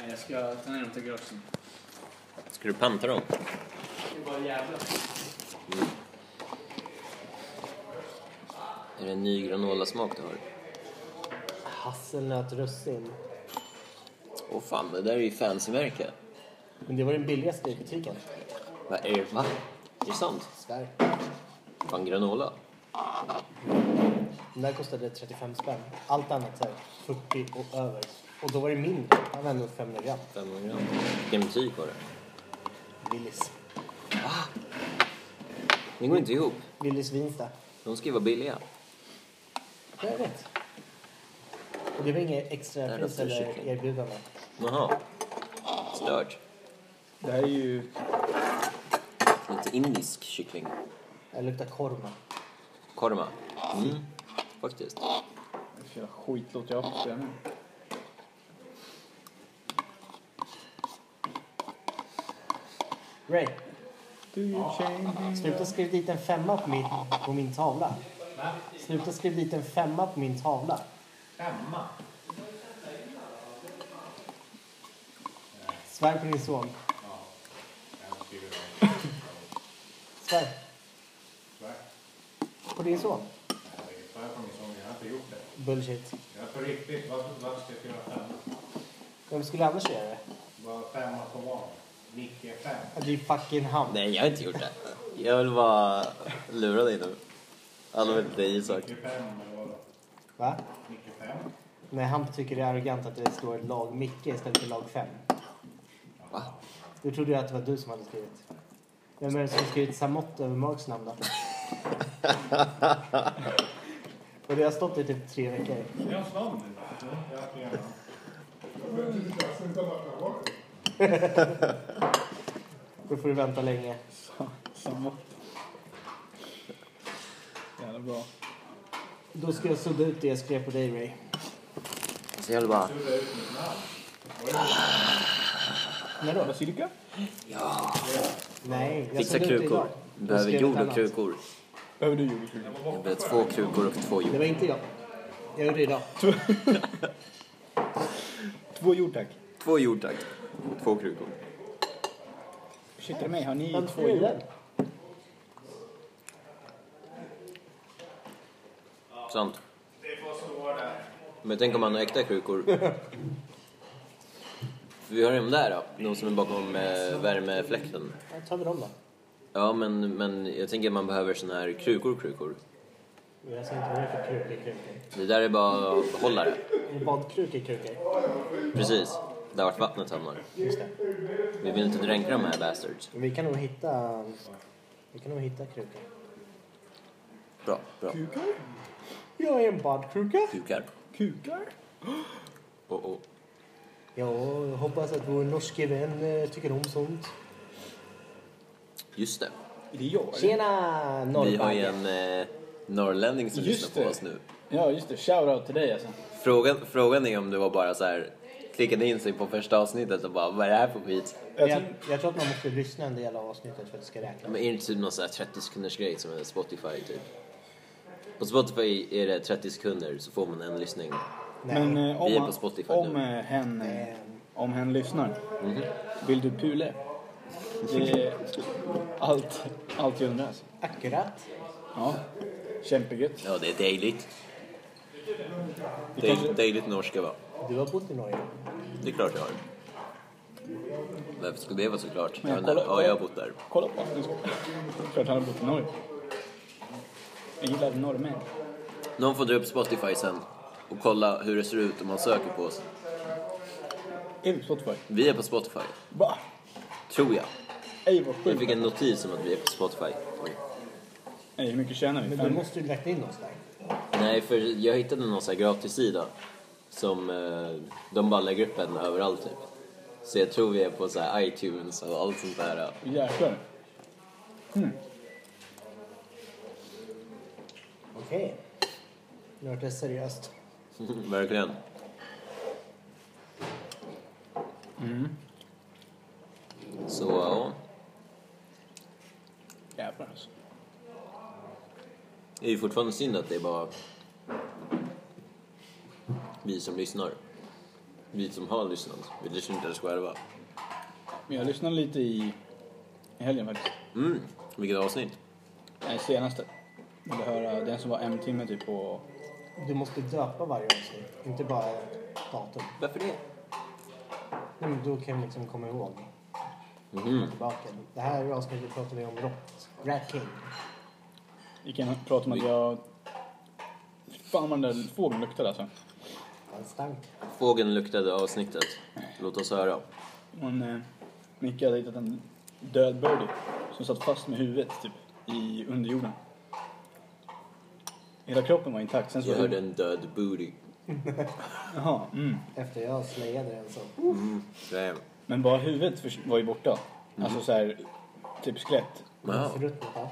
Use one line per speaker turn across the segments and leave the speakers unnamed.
Nej, jag ska ta ner dem till garagen.
Ska du panta dem?
Det är bara jävla.
Är det en ny granolasmak du har?
Hasselnöt russin.
Åh fan, det där är ju fancy-märke.
Men det var den billigaste i butiken.
Vad är det? Va? Är det sant?
Svär.
Fan, granola?
Den där kostade 35 spänn. Allt annat så här 40 och över. Och då var det mindre. Han var ändå 500 gram.
500 gram. Vilken butik var det?
Willys.
Det går inte ihop.
Willys Vinsta.
De ska ju vara billiga.
Ja, Jag vet. Och det var inget
Det här
extra pris
låter
eller
kyckling.
erbjudande.
Jaha. Stört.
Det här är ju...
Lite indisk kyckling.
Det luktar korma.
Korma. Mm. Faktiskt.
Jävla skit låter jag på nu.
Ray,
Do you change?
sluta skriva dit en femma på min, på min tavla. Sluta skriva dit en femma på min tavla.
Femma?
Svär på din son. Svär.
Svär.
På din son.
Svär på min son, jag har inte gjort det.
Bullshit.
Jag på riktigt, varför, varför ska jag skriva femma?
Vem skulle annars göra det?
Bara femma på vad? Micke fem.
Ja, Det är fucking han.
Nej, jag har inte gjort det. Jag vill bara lura dig nu. Alla vet det är Isak.
Micke fem eller vadå?
Va?
Micke fem?
Nej, han tycker det är arrogant att det står lag Micke istället för lag 5.
Va?
Då trodde jag att det var du som hade skrivit. Vem är det som har skrivit Samott över Marks namn då? Och det har stått i typ tre veckor.
Jag har svann nu. Jag har flera namn.
Då får du vänta länge.
Samma. Jävla bra.
Då ska jag sudda ut det jag skrev på dig Ray.
Så jag vill bara...
Sudda ut mitt namn.
När då?
Basilika?
Nej, jag
Fixa
suddade ut Alltså, det idag.
krukor. Behöver
Jag skrev
jord
ett
och
annat.
krukor.
Behöver du jordgubb?
Jag behöver två krukor och två
Det
jord.
var inte jag. Jag gjorde det idag.
Två jord tack.
Två jord, tack. Två krukor.
Ursäkta mig, har ni
Vem
två
skrev
jord?
den?
Sant.
Det får stå där.
Men tänk om man har äkta krukor. Vi har de där då, de som är bakom eh, värmefläkten.
Ja, tar vi dem då.
Ja, men, men jag tänker att man behöver såna här krukor, krukor.
Jag ser inte vad det är för krukor, krukor.
Det där är bara behållare.
En badkrukor, krukor.
Precis, där vart vattnet hamnar.
Just det.
Vi vill inte dränka de här bastards.
Men vi kan nog hitta... Vi kan nog hitta krukor.
Bra, bra.
Kukar?
Jag är en badkruka.
Kukar.
Kukar?
Oh, oh.
Ja, jag hoppas att vår norske vän eh, tycker om sånt.
Just det.
Är det jag? eller?
Tjena
Vi har ju
norrbagge!
en eh, norrlänning som
Just
lyssnar på
det.
oss nu.
Ja, just det. Shoutout till dig alltså.
Frågan, frågan är om det var bara så här klickade in sig på första avsnittet och bara vad är det här för skit?
Jag
Jag,
tror-
jag tror att man måste lyssna en del av avsnittet för att det ska räknas.
Men är det inte typ någon så här 30 sekunders grej som är Spotify typ? På Spotify är det 30 sekunder så får man en lyssning.
Nej.
Men eh,
Vi är
om,
på
han-
Spotify
om
nu.
eh, hen, eh, om hen lyssnar,
Mhm.
vill du pule? Det är allt, allt jag undrar. alltså.
Akkurat.
Ja, kämpegött.
Ja, det är dejligt.
Det
Dej,
kanske-
dejligt norska va?
Du har bott i Norge.
Det är klart jag har. Varför skulle det vara så klart?
Men
Jag vet inte. Ja,
kolla-
jag har bott där.
Kolla på honom. Klart han har bott i Norge. Jag gillar norrmän.
Någon får dra upp Spotify sen och kolla hur det ser ut om man söker på oss.
Är vi på Spotify?
Vi är på Spotify,
Va?
tror jag.
Ej vad
Jag fick
sjukt.
en notis om att vi är på Spotify. Oj.
Ej, hur mycket tjänar vi?
Men du
Fem?
måste ju lagt in oss där.
Nej, för jag hittade någon sån här gratissida som eh, de bara lägger upp en överallt typ. Så jag tror vi är på så här iTunes och allt sånt där.
Jäklar.
Okej. Nu vart det seriöst.
Verkligen. Mm. Så ja,
Jävlar alltså.
det är ju fortfarande synd att det är bara vi som lyssnar. vi som har lyssnat. Vi lyssnar inte ens själva.
Men jag lyssnade lite i, i helgen faktiskt.
Mm, vilket avsnitt.
Nej, senaste. Jag ville höra den som var en timme typ på...
Du måste döpa varje avsnitt, inte bara datum.
Varför det?
Nej, men då kan vi liksom komma ihåg.
Mhm.
Tillbaka. Det här avsnittet pratar vi om Rat, Rat King.
Gick in och pratade om att jag... Fan vad den där fågeln luktade alltså.
Han stank.
Fågeln luktade avsnittet. Låt oss höra.
Hon, eh, Micke hade hittat en död birdie som satt fast med huvudet typ i underjorden. Hela kroppen var intakt. Sen så
Alltså,
Jag hörde en död booty.
Jaha, mm.
Efter jag slayade den så...
Mm. Damn.
Men bara huvudet förs- var ju borta.
Mm.
Alltså så här, typ skelett.
Wow.
Förruttnat va?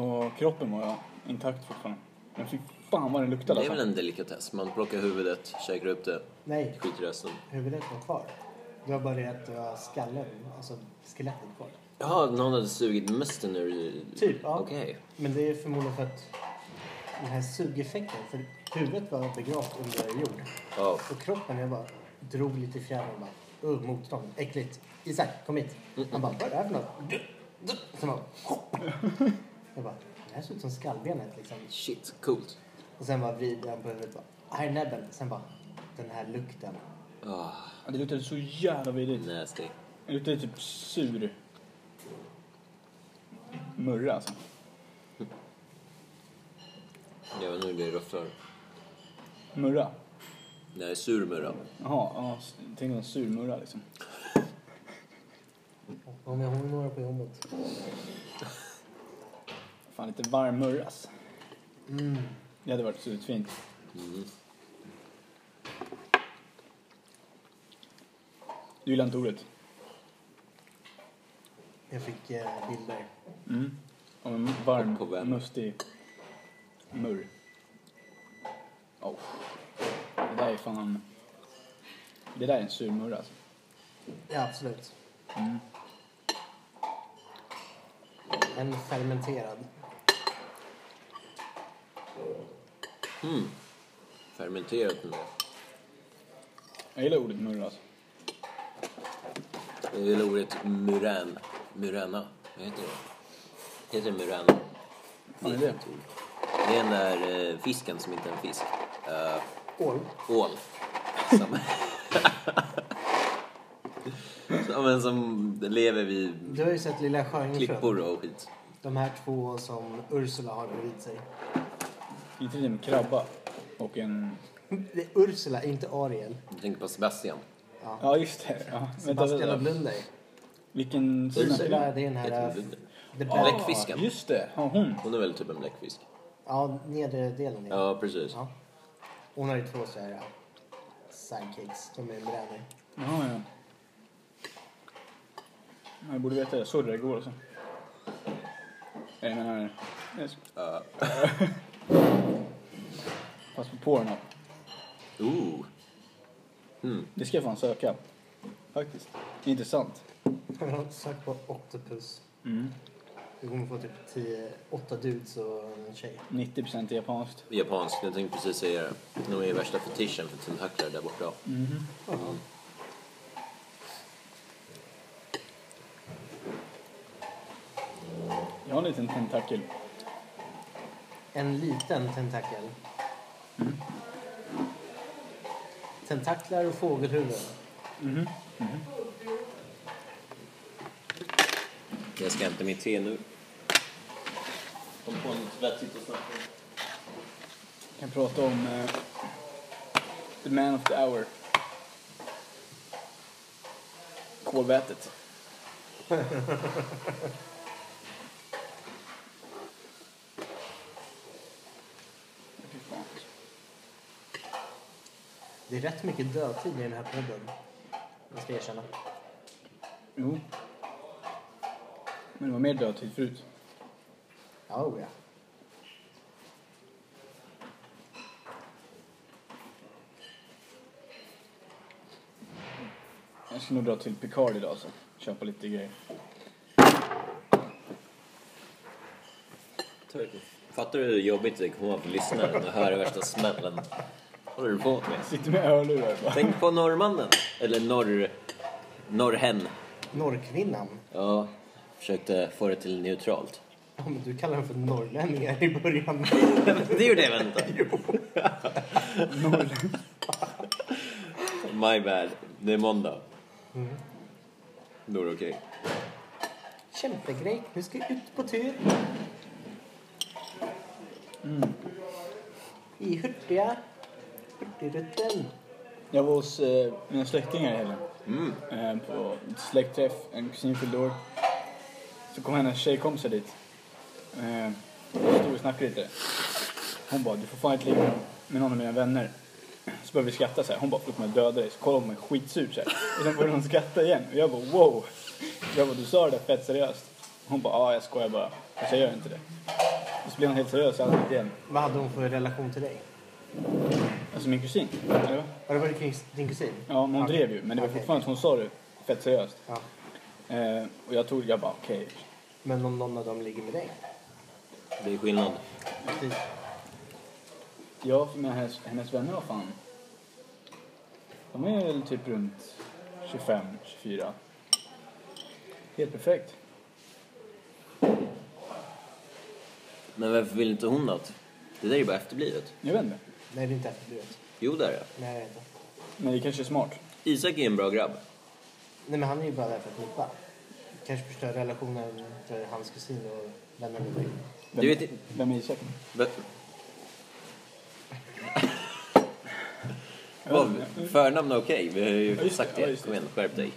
Och kroppen var intakt fortfarande. Men fy fan vad den luktade
Det är
alltså.
väl en delikatess. Man plockar huvudet, käkar upp det,
Nej,
skiter i resten.
huvudet var kvar. Det var bara det att det var skallen, alltså skelettet kvar.
Jaha, någon hade sugit musten ur...
Typ, ja.
Okej.
Men det är förmodligen för att den här sugeffekten, för huvudet var begravt under jord.
Ja.
Och kroppen, jag bara drog lite i fjärran och bara, uh, motstånd, äckligt. Isak, kom hit. Han bara, vad är det här för något? Du, du. Sen bara, hopp. Jag bara, det här ser ut som skallbenet liksom.
Shit, coolt.
Och sen bara vrider han på huvudet bara, här är näbben. Sen bara, den här lukten.
Ah,
Ja, Det luktade så jävla vidrigt.
nasty.
Det luktade typ sur... Murra alltså.
Jag vet inte hur det röstar.
Murra.
Det här är surmurra.
Jaha, ja, s- tänk om sur murra liksom.
Om jag har några på jobbet.
Fan lite varm murras.
Mm.
Det hade varit sutfint. Du gillar inte ordet?
Jag fick eh, bilder.
Mm. Om en
Och på vem?
varm, mustig murr. Oh. Det där är fan... Det där är en sur murr alltså.
Ja, absolut.
Mm.
En fermenterad.
Mm. Fermenterat med det.
Jag gillar ordet murr alltså.
Jag gillar ordet murän. Murena. Vad heter det? Heter det murena?
Vad är det?
Det är den där eh, fisken som inte är en fisk. Eh,
Ål.
ål. Som... som, men som lever vid
Du har ju sett Lilla Sjöjungfrun.
klippor och skit.
De här två som Ursula har bredvid sig.
Inte det med krabba och en...
Det är Ursula, inte Ariel.
Jag tänker på Sebastian.
Ja.
Ja just det. Ja. Vänta,
Sebastian och
vänta.
Blunder.
Vilken sida?
Ursula, det är den här... eh,
Heter det?
The
Ah,
Bad...
Bläckfisk. Bläckfisken.
Just det, ja, hon.
Hon är väl typ en bläckfisk?
Ja, nedre delen. Ja.
Ja, precis.
Ja. Hon har ju två så här ja, sidekicks. De är bränner.
Jaha, ja. Ja, Jag borde veta det. Jag såg det där igår också. Jag menar... jag sk-
Ja.
Fast på Pornhub.
Ooh. Mm.
Det ska jag fan söka. Faktiskt. Intressant.
Sök på Octopus.
Mm.
Du kommer få typ 10, 8 dudes och en tjej.
90% är japanskt.
Japansk, jag tänkte precis säga det. De är ju värsta fetischen för tentakler där borta.
Jag har en liten tentakel.
En liten tentakel. Mm. Tentaklar och fågelhuvuden.
Jag ska hämta mitt te nu. Kom på något vettigt att snacka om.
Jag kan prata om... eh, the man of the hour. Kolvätet. Fy fan.
Det är rätt mycket dödtid i den här podden. Jag ska erkänna.
Jo. Men det var mer dödtid förut.
Ja, oh ja.
Jag ska nog dra till Picard idag så. Köpa lite grejer.
Fattar du hur jobbigt det kommer vara för lyssnaren att höra värsta smällen? håller du på med?
Sitter med hörlurar bara.
Tänk på norrmannen. Eller norr... Norrhen.
Norrkvinnan.
Ja, försökte få det till neutralt.
Ja, men du kallar den för norrlänningar i början.
Det gjorde jag väl inte? My bad. Det är måndag. Då är det okej.
Kämpegrej. Nu ska jag ut på tur. Mm. I Hurtiga. Hurtigrutten.
Jag var hos eh, mina släktingar i helgen. Eh, på släktträff, en kusin fyllde år. Så kom hennes tjejkompisar dit. Eh, vi stod och snackade lite. Hon bara, du får fan inte ligga med- med någon av mina vänner. Så började vi skratta så här. Hon bara, då kommer jag döda dig. Så kollade hon på mig skitsur så här. Och sen började hon skratta igen. Och jag bara, wow. Jag bara, du sa det där fett seriöst. Hon bara, ja jag skojar bara. Och så jag gör inte det. Och så blev hon helt seriös alltid igen.
Vad hade hon för relation till dig?
Alltså min kusin. Eller vad?
Har det varit kring din kusin?
Ja, men hon drev ju. Men det var
Okej.
fortfarande att hon sa det fett seriöst.
Ja.
Eh, och jag tog, jag bara okej.
Men om någon av dem ligger med dig?
Det är skillnad.
Precis.
Jag men hennes, hennes vänner var fan... De är väl typ runt 25, 24. Helt perfekt.
Men varför vill inte hon något? Det där är ju bara efterblivet.
Jag vet inte.
Nej, det är inte efterblivet.
Jo, där är jag.
Nej, jag vet inte.
Men det kanske är smart.
Isak är en bra grabb.
Nej, men han är ju bara där för att hoppa. Kanske förstör relationen för hans kusin och vänner med dig.
Vem,
Du vet i-
vem är Isak?
Be- Vad, förnamn är okej, vi har
Ja,
ju
just det.
sagt
Ja,
det.
just det.
Kom igen, skärp dig.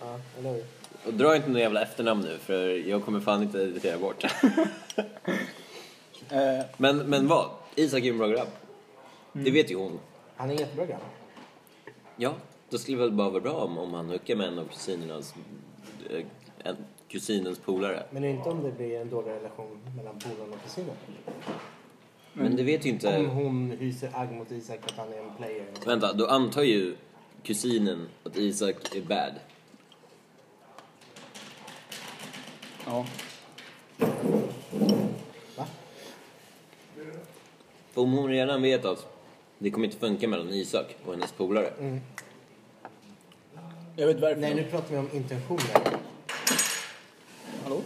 Ja, eller hur?
Och dra inte några jävla efternamn nu för jag kommer fan inte editera bort.
Eh,
Men, men vad? Isak är en bra grabb. Det vet ju hon.
Han är jättebra grabb.
Ja, då skulle det väl bara vara bra om, om han hookar med en av kusinernas... eh, En, kusinens polare.
Men inte om det blir en dålig relation mellan polaren och kusinen.
Men det vet ju
Om
inte...
hon hyser agg mot Isak för att han är en player.
Vänta, då antar ju kusinen att Isak är bad.
ja.
Va?
För om hon redan vet att det kommer inte funka mellan Isak och hennes polare.
Jag vet varför.
Nej,
dock.
nu pratar vi om intentioner.
Hallå?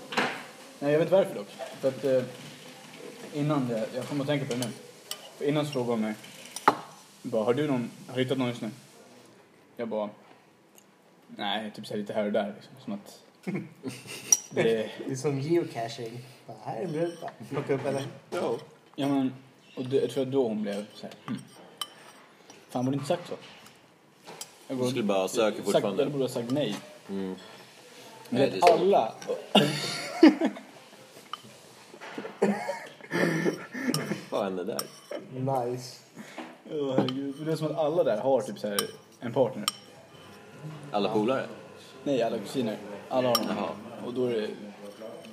Nej, jag vet varför dock. För att eh, innan det, jag kommer att tänka på det nu. För innan så frågade hon mig, bara, har du någon, har du hittat någon just nu? Jag bara, nej, typ så här lite här och där liksom. Som att, det,
Det är som geocaching. Bara, här är en brud. Bara, Plocka upp henne.
ja men, och det, jag tror då hon blev så här, hm. Fan, borde inte sagt så. Jag
Du skulle bara söka
sagt, jag
fortfarande.
borde ha sagt nej.
Mm.
Men
Nej,
att
det är så.
alla...
Vad hände där?
Nice.
Åh, herregud. Men Det är som att alla där har typ så här en partner.
Alla polare?
Nej, alla kusiner. Alla har någon.
Jaha.
Och då är det...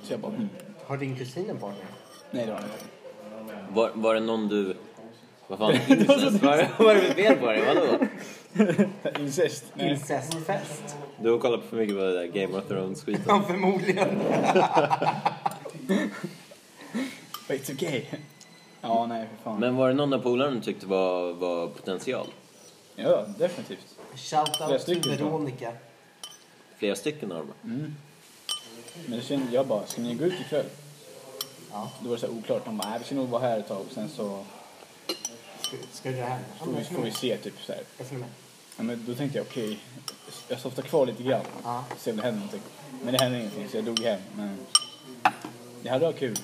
Så jag bara, mm.
Har din kusin en partner?
Nej, det har han inte.
Var, var det någon du... Vad fan? Incest? Vad vad är det för fel på dig? Vadå?
Incest. Nej.
Incestfest.
Du har kollat för mycket på det där Game of Thrones-skiten.
Ja, förmodligen.
But it's okay. Ja, nej för fan.
Men var det någon av polarna du tyckte var, var potential?
Ja, definitivt. Flera
Shoutout till
stycken, tror jag.
Veronica.
Flera stycken av dem?
Men det kände jag bara, ska ni gå ut ikväll?
Ja.
Då var det så här oklart. De bara, nej vi ska nog vara här ett tag. Sen så
Ska, ska du hem? Ja,
får
men
vi,
jag
får
följer
vi
med.
se typ så här.
Jag följer med.
Ja, men då tänkte jag, okej. Jag softar kvar lite grann.
Ja.
Se om det händer någonting. Men det hände ingenting så jag dog hem. Men jag hade ha kul.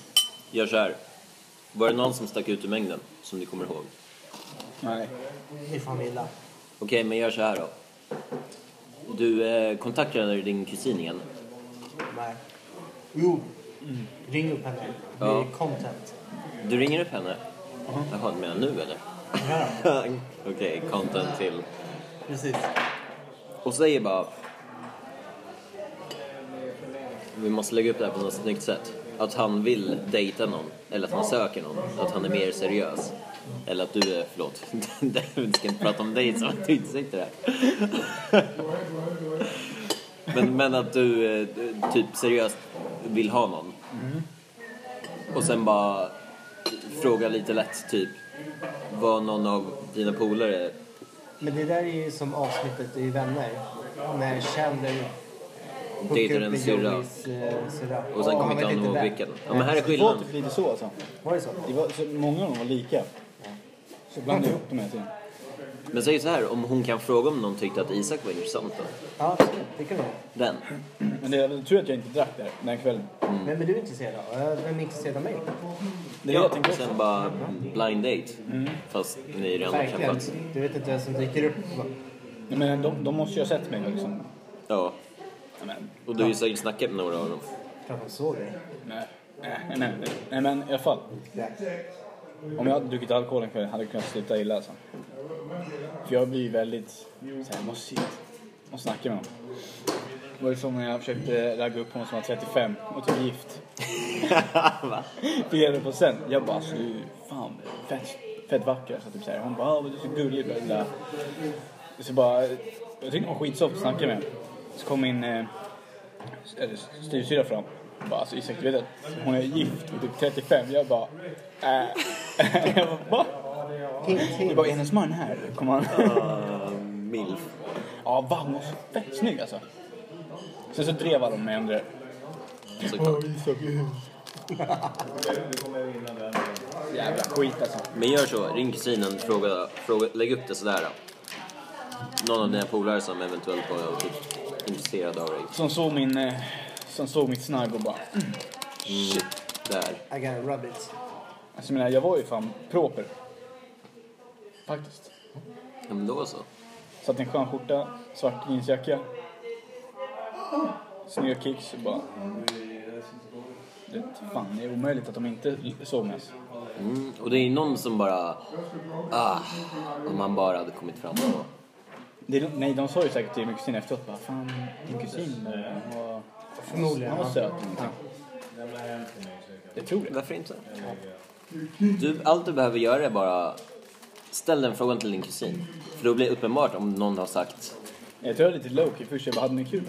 Gör så här. Var det någon som stack ut ur mängden som du kommer ihåg?
Nej.
Ni får vila.
Okej, men gör så här då. Du eh, kontaktade din kusin igen.
Nej. Jo.
Mm.
Ring upp henne. Det är
Ja.
content.
Du ringer upp henne? Jaha, du menar nu eller?
Ja,
Okej, content till.
precis.
Och säger bara... Vi måste lägga upp det här på något snyggt sätt. Att han vill dejta någon, eller att han söker någon, att han är mer seriös. Eller att du är, förlåt, vi ska inte prata om dig som att du inte sitter här. Men, men att du eh, typ seriöst vill ha någon. Och sen bara fråga lite lätt typ, vad någon av dina polare...
Men det där är ju som avsnittet i Vänner. När Chandler hookar
Dejtar
upp
en
med
syrra.
Joeys, eh, syrra.
Och sen kommer inte
han var
han
lite
ihåg
där.
vilken. Ja, men här är
Det var
skillnaden.
typ lite så alltså.
Var det så?
Det var, så många av dem var lika. Så blandade jag ihop dem hela tiden.
Men säg så här, om hon kan fråga om någon tyckte att Isak var intressant då?
Ja, absolut. Det kan det vara.
Den.
Men det, jag tror att jag inte drack där den kvällen.
Mm.
Vem är du intresserad av? Eh, Vem är intresserad av mig?
Det är det jag
och
tänkte också.
sen bara blind date. Fast ni redan har
Verkligen.
kämpat.
Du vet inte vem som dyker upp.
Nej, Men de, de måste ju ha sett mig liksom.
Ja.
Nej, Men,
Och du har ju säkert snackat med några av dem.
Klart de såg dig.
nej, nej, nej, nej. nej men i alla fall. Om jag hade druckit alkohol en kväll hade jag kunnat sluta illa alltså. För jag blir väldigt såhär, jag måste hit. Jag måste snacka med någon. Det var ju som när jag försökte ragga upp honom som var 35 och typ gift.
Va?
Fick reda på sen. Jag bara, alltså du är fan fett, fett vacker. Så typ så här. Hon bara, ah, men du är så gullig. Bla, bla. Så bara, jag tyckte hon var skitsoft att snacka med. Så kom min eh, s- eller styvsyrra fram. Hon Bara, alltså Isak du vet att hon är gift och typ 35. Jag bara, äh. Jag bara, va?
Hint,
Det
hint.
var hennes man här. Kom han.
Uh, milf.
Ja, va, hon var så fett snygg alltså. Sen så drev alla med om det.
Såklart.
Jävla skit alltså.
Men gör så, ring kusinen, fråga, fråga, lägg upp det sådär. Då. Någon av dina polare som eventuellt var typ intresserad av dig. Mm.
Som såg min, eh, som såg mitt snagg och bara, mm. shit.
Där.
I gotta rub it.
Alltså jag menar, jag var ju fan proper. Faktiskt.
Ja, men då så.
Satt i en skön skjorta, svart jeansjacka. Snygga kicks och bara... Det är inte fan, det är omöjligt att de inte såg mig. alltså.
Mm. Och det är ju någon som bara... Ah, om man bara hade kommit fram då.
Det är, nej, de sa ju säkert till min kusin efteråt bara Fan, din kusin där, han var...
Förmodligen.
Han var
ja.
söt. Jag tror det.
Varför inte? Du, allt du behöver göra är bara... Ställ den frågan till din kusin. För då blir det uppenbart om någon har sagt...
Jag tror jag var lite lowkey först, jag bara hade ni kul?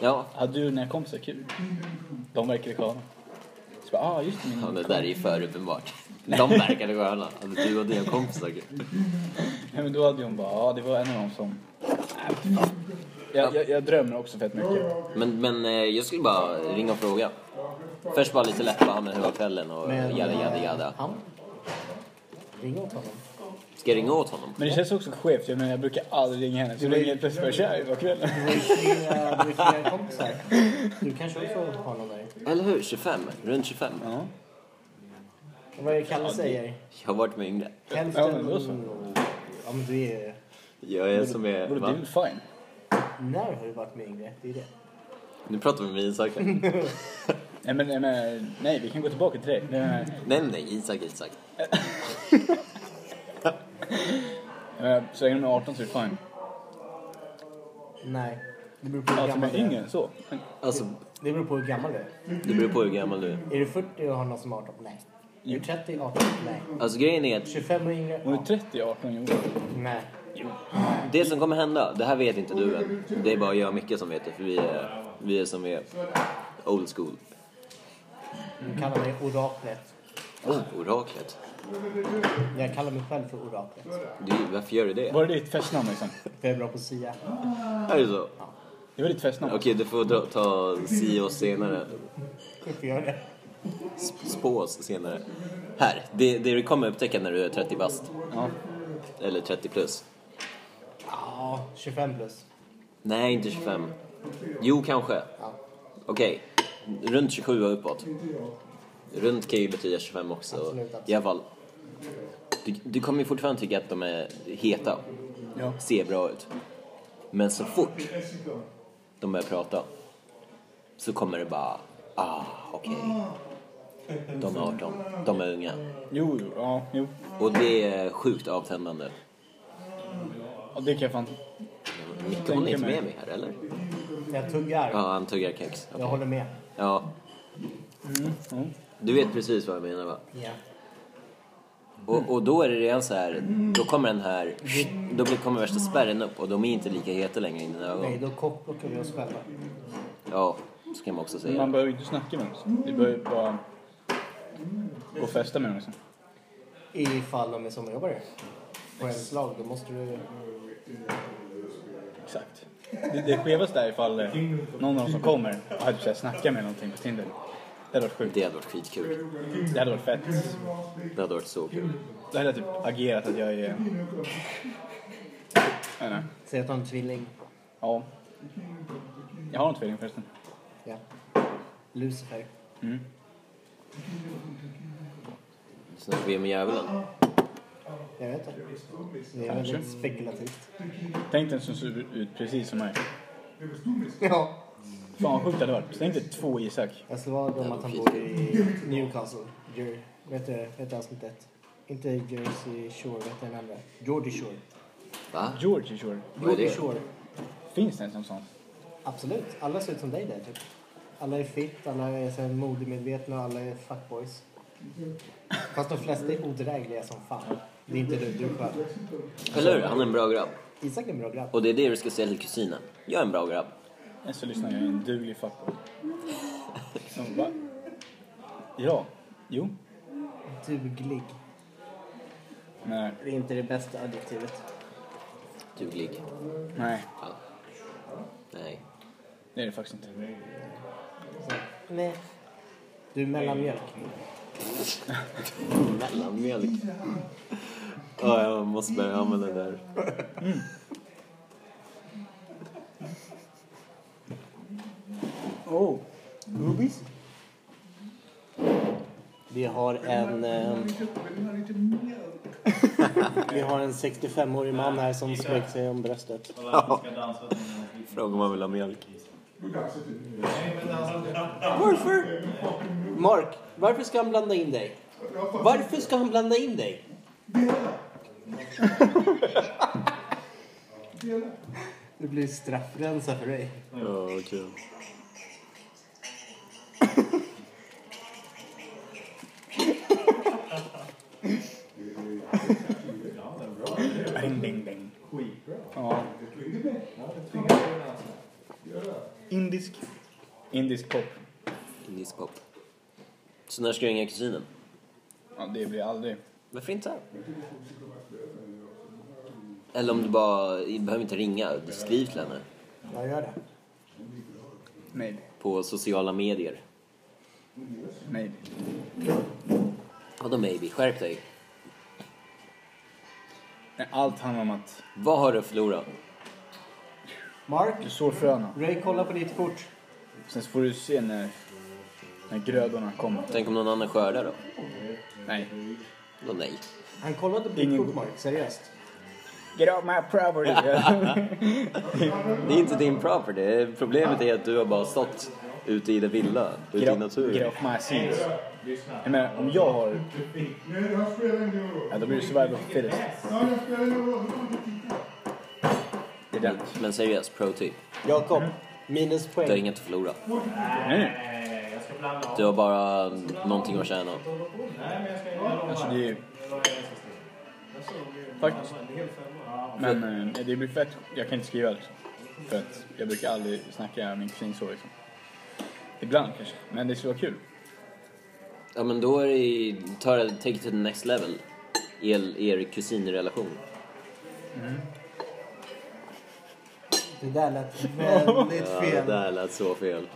Ja,
Hade du dina kompisar kul? De verkade sköna. Så bara, ah just det, min
ja det där är ju för uppenbart. De verkade sköna. Alltså, du och dina kompisar.
Nej men då hade hon bara, ja det var en av dem som... Jag, jag, jag drömmer också fett mycket.
Men, men eh, jag skulle bara ringa och fråga. Först bara lite lätt, bara, men hur var kvällen och
Men- eh,
jada jada jada.
Han? Ring åt honom.
Ska jag ringa åt honom?
Men det känns också skevt, jag menar jag brukar aldrig ringa henne. Så
var ju-
ringer jag plötsligt bara tja, det var kvällen.
Du har ju flera- du har ju eh, flera kompisar. Du kanske också har någon där.
Eller hur? 25? Runt 25?
Ja.
Och Vad är det Kalle säger?
Jag har varit med yngre.
Ja, men
Hälften...
då så.
Ja, men du är...
Jag är som är...
Borde
Va?
du fine?
När har du varit med yngre? Det är det.
Nu pratar vi med Isak. här.
Nej men, nej, men nej, vi kan gå tillbaka till dig. Jag menar,
Nej, nej, Isak, Isak.
jag menar, så länge de är 18 så är det fine.
Nej. Det beror på hur
Alltså
gammal
men
du är.
yngre än så. Men,
Alltså,
Det beror på hur gammal du är.
det beror på hur gammal du är.
Är du 40 och har någon som är 18? Nej. Är du 30 och 18? Nej.
Alltså grejen är att
25 och yngre?
Hon är
Ja.
30, 18 år.
Nej.
det som kommer hända, det här vet inte du än. Det är bara jag och Micke som vet det, för vi är, vi är som vi är. Old school.
Du kallar mig oraklet.
Oh, oraklet.
Jag kallar mig själv för oraklet.
Du, varför gör du det?
Var det ditt festnamn liksom?
För jag är bra på att sia.
Är det så?
Det var ditt festnamn.
Okej, du får dra, ta si oss senare.
Varför gör jag det?
Sp- Spå oss senare. Här, det, det du kommer upptäcka när du är 30 bast.
Ja.
Eller 30 plus.
Ja, 25 plus.
Nej, inte 25. Jo, kanske.
Ja.
Okej, runt 27 och uppåt. Runt kan ju betyda 25 också.
Absolut, absolut.
I alla fall. Du, du kommer ju fortfarande tycka att de är heta.
Ja.
Ser bra ut. Men så fort de börjar prata så kommer det bara... Ah, okej. De är 18. De är unga.
Jo, jo, ja, jo.
Och det är sjukt avtändande.
Ja, det kan jag fan...
Micke, hon är inte med mig här, eller?
Jag tuggar.
Ja, han tuggar kex.
Jag håller med.
Ja. Du vet precis vad jag menar, va?
Ja.
Och, och då är det redan så här, då kommer den här, då blir, kommer värsta spärren upp och de är inte lika heta längre i dina
Nej,
ögon.
då kockblockar vi oss själva.
Ja, så kan man också
Men Man
säga.
behöver ju inte snacka med dem. Vi behöver bara gå och festa med dem liksom.
ifall de är sommarjobbare. På ens lag, då måste du...
Exakt. Det, det skevaste är ifall eh, någon av dem som kommer typ hade försökt snacka med någonting på Tinder. Det hade varit sjukt.
Det hade varit skitkul.
Det hade varit fett.
Det hade varit så kul.
Då hade jag typ agerat att jag är... Jag vet inte.
Säg att du har en tvilling.
Ja. Jag har en tvilling förresten.
Ja. Lucifer.
Mm.
Snackar vi med djävulen?
Jag vet inte. Det är
Kanske.
väldigt spekulativt.
Tänk dig en som ser ut precis som mig.
Ja.
Fan vad sjukt det hade varit. Tänk dig två Isak.
Jag slår vad om att han bor i Newcastle. Jer- Vet du, vet du avsnittet? Inte Jersey Shore, vet du den andra? Geordie Shore.
Va?
George Shore.
Vad är
Geordie
det?
Shore.
Finns det ens en sån?
Absolut. Alla ser ut som dig där typ. Alla är fit, alla är så här modemedvetna och alla är fuckboys. Fast de flesta är odrägliga som fan. Det är inte du, du är skön.
Eller hur? Han är en bra grabb.
Isak är en bra grabb.
Och det är det du ska säga till kusinen. Jag är en bra grabb.
Än så lyssnar jag är en duglig fuckboy. Som va? Ja. Jo.
Duglig.
Nej.
Det är inte det bästa adjektivet.
Duglig.
Nej.
Ja. Nej.
Det är det faktiskt inte.
Så, Nej. Du är mellanmjölk.
Mellanmjölk. Ja, jag måste börja använda det där.
Oh. Boobies?
Vi har en... Eh, vi har en 65-årig man här som skrek sig om bröstet.
Kolla, vi ska dansa till den här
Fråga om man vill ha mjölk.
Nej, men dansa.
Varför? Mark, varför ska han blanda in dig? Varför ska han blanda in dig? Det blir straffrensa för dig.
Ja, kul.
Bing, bing, bing.
Skitbra.
Ja. Indisk. Indisk pop.
Indisk pop. Så när ska jag ringa kusinen?
Ja, det blir aldrig.
Varför inte? Eller om du bara... Du behöver inte ringa. Du skriver till henne.
Jag gör det.
Maybe.
På sociala medier.
Maybe.
Vadå maybe? Skärp dig.
Nej, allt handlar om att
Vad har du att förlora?
Mark,
du sår fröna.
Ray kollar på ditt kort.
Sen så får du se när, när grödorna kommer.
Tänk om någon annan skördar då?
Nej.
Då nej.
Han kollade på ditt
Ingen-
kort, Mark. Seriöst.
Get out my property!
Det är inte din property. Problemet är att du har bara stått ute i det vilda, ute i
get, out, get
naturen.
off my seeds. Jag menar, om jag har... Ja, då blir det survival of the fittest. Det är den.
Men seriöst, pro tip.
Jakob, minuspoäng.
Du har inget att förlora.
Nej, nej.
Nej, jag ska blanda av.
Du har bara någonting att tjäna.
Nej, men jag ska inte.
Alltså, det är ju... Faktiskt. Men eh, det blir fett. Jag kan inte skriva liksom. För att jag brukar aldrig snacka med min kusin så liksom. Ibland kanske. Men det skulle vara kul.
Ja men då är det ju- ta det, take it to the next level. Er, er kusinrelation.
Det där lät väldigt
Ja, det
fel.
där lät så fel.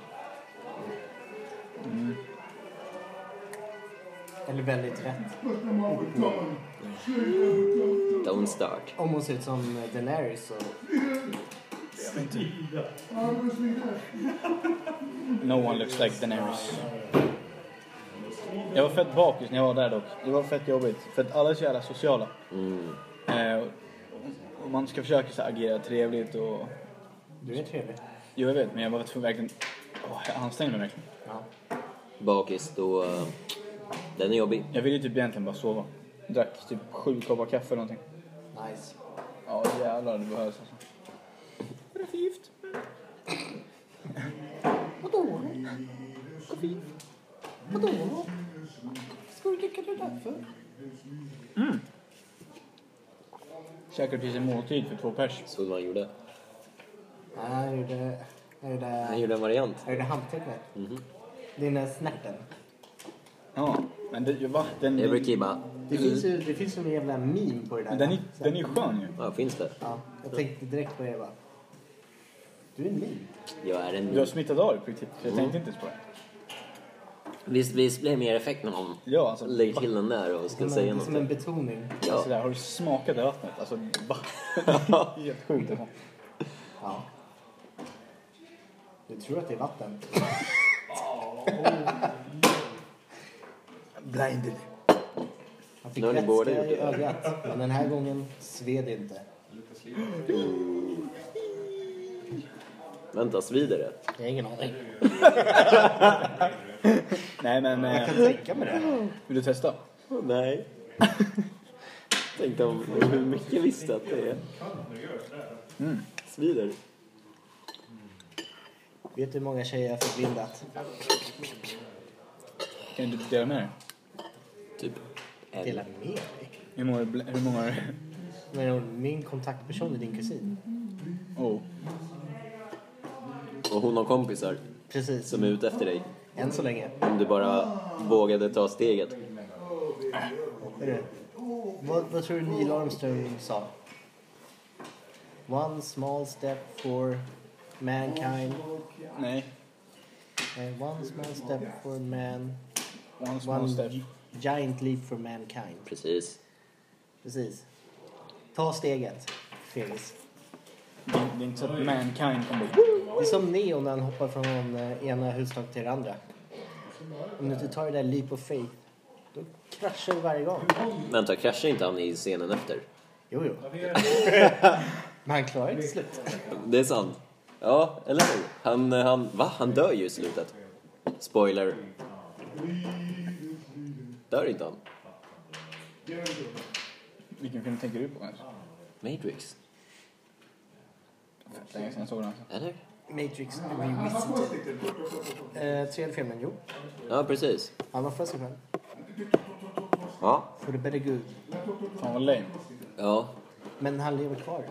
Eller väldigt rätt.
Don't start.
Om hon ser ut som Daenerys så...
No one looks like Daenerys. Jag var fett bakis när jag var där dock. Det var fett jobbigt. För att alla är så jävla sociala. Eh, och- och man ska försöka så här, agera trevligt och...
Du är trevlig.
Jo, jag vet. Men jag var tvungen verkligen... Åh, jag ansträngde mig verkligen.
Ja.
Bakis, då... eh, den är jobbig.
Jag ville ju typ egentligen bara sova. Drack typ sju koppar kaffe eller någonting.
Nice.
Ja, jävlar det behövs alltså. Är det gift?
Vadå? Varför? Vadå? Ska du dricka det där för?
Käkade precis en måltid för två pers.
Såg du vad han gjorde?
Nej, han gjorde... Han gjorde...
Han gjorde en variant.
Han gjorde handtecknet. Det är den där snärten.
Ja. Men det, va? Den,
Jag brukar ju
den,
bara...
Det finns ju det finns ju en jävla meme på det där.
men den, är,
Så här,
den är ju skön ju.
Ja, finns det?
Ja, jag tänkte direkt på det bara. Du är en meme.
Jag är
Du har
en...
smittat av dig på riktigt, så jag tänkte inte ens på det.
Visst, visst blir det mer effekt när någon
Ja, alltså.
lägger till den där och
Det är
ska
som
säga
en- det är som en
något.
betoning.
Ja.
Sådär, har du smakat det vattnet? Alltså, va? Det är Helt sjukt alltså.
Ja. Du tror att det är vatten?
Blinded.
Han fick
Nu har ni
vätska
båda gjort
i
det.
ögat, men den här gången sved det inte.
Vänta, svider det?
Jag har ingen aning.
Nej men,
Jag kan
eh,
tänka mig det.
vill du testa?
Åh, nej. Tänkte om hur mycket visste att det är. Mm. Svider.
Vet du hur många tjejer jag har förblindat?
Kan du inte dela med dig?
Typ en.
Dela med dig?
Hur många, bl- hur många har du?
Men min kontaktperson är din kusin.
Oh.
Och hon har kompisar
Precis.
som är ute efter dig.
Än så länge.
Om du bara vågade ta steget.
Är det? Vad, vad tror du Neil Armstrong sa? One small step for mankind.
Nej.
And one small Eh, step for man.
One small
One
step.
gi- giant leap for mankind.
Precis.
Precis. Ta steget, Felix.
Det, det är inte så att mankind kommer bli...
Det är som Neo när han hoppar från eh, ena hustaket till det andra. Om du inte tar det där leap of faith, då kraschar du varje gång.
Vänta, kraschar inte han i scenen efter?
Jo, jo. Men han klarar det till slut.
Det är sant. Ja, eller hur? Han, han, va? Han dör ju i slutet. Spoiler. Dör inte han?
Vilken film tänker du på kanske?
Matrix?
Fett länge sedan jag såg den alltså.
Eller?
Matrix Revisited. Eh, tredje filmen, jo.
Ja, precis.
Han offrar sig själv.
Ja.
For the better good.
Fan vad lame.
Ja.
Men han lever kvar.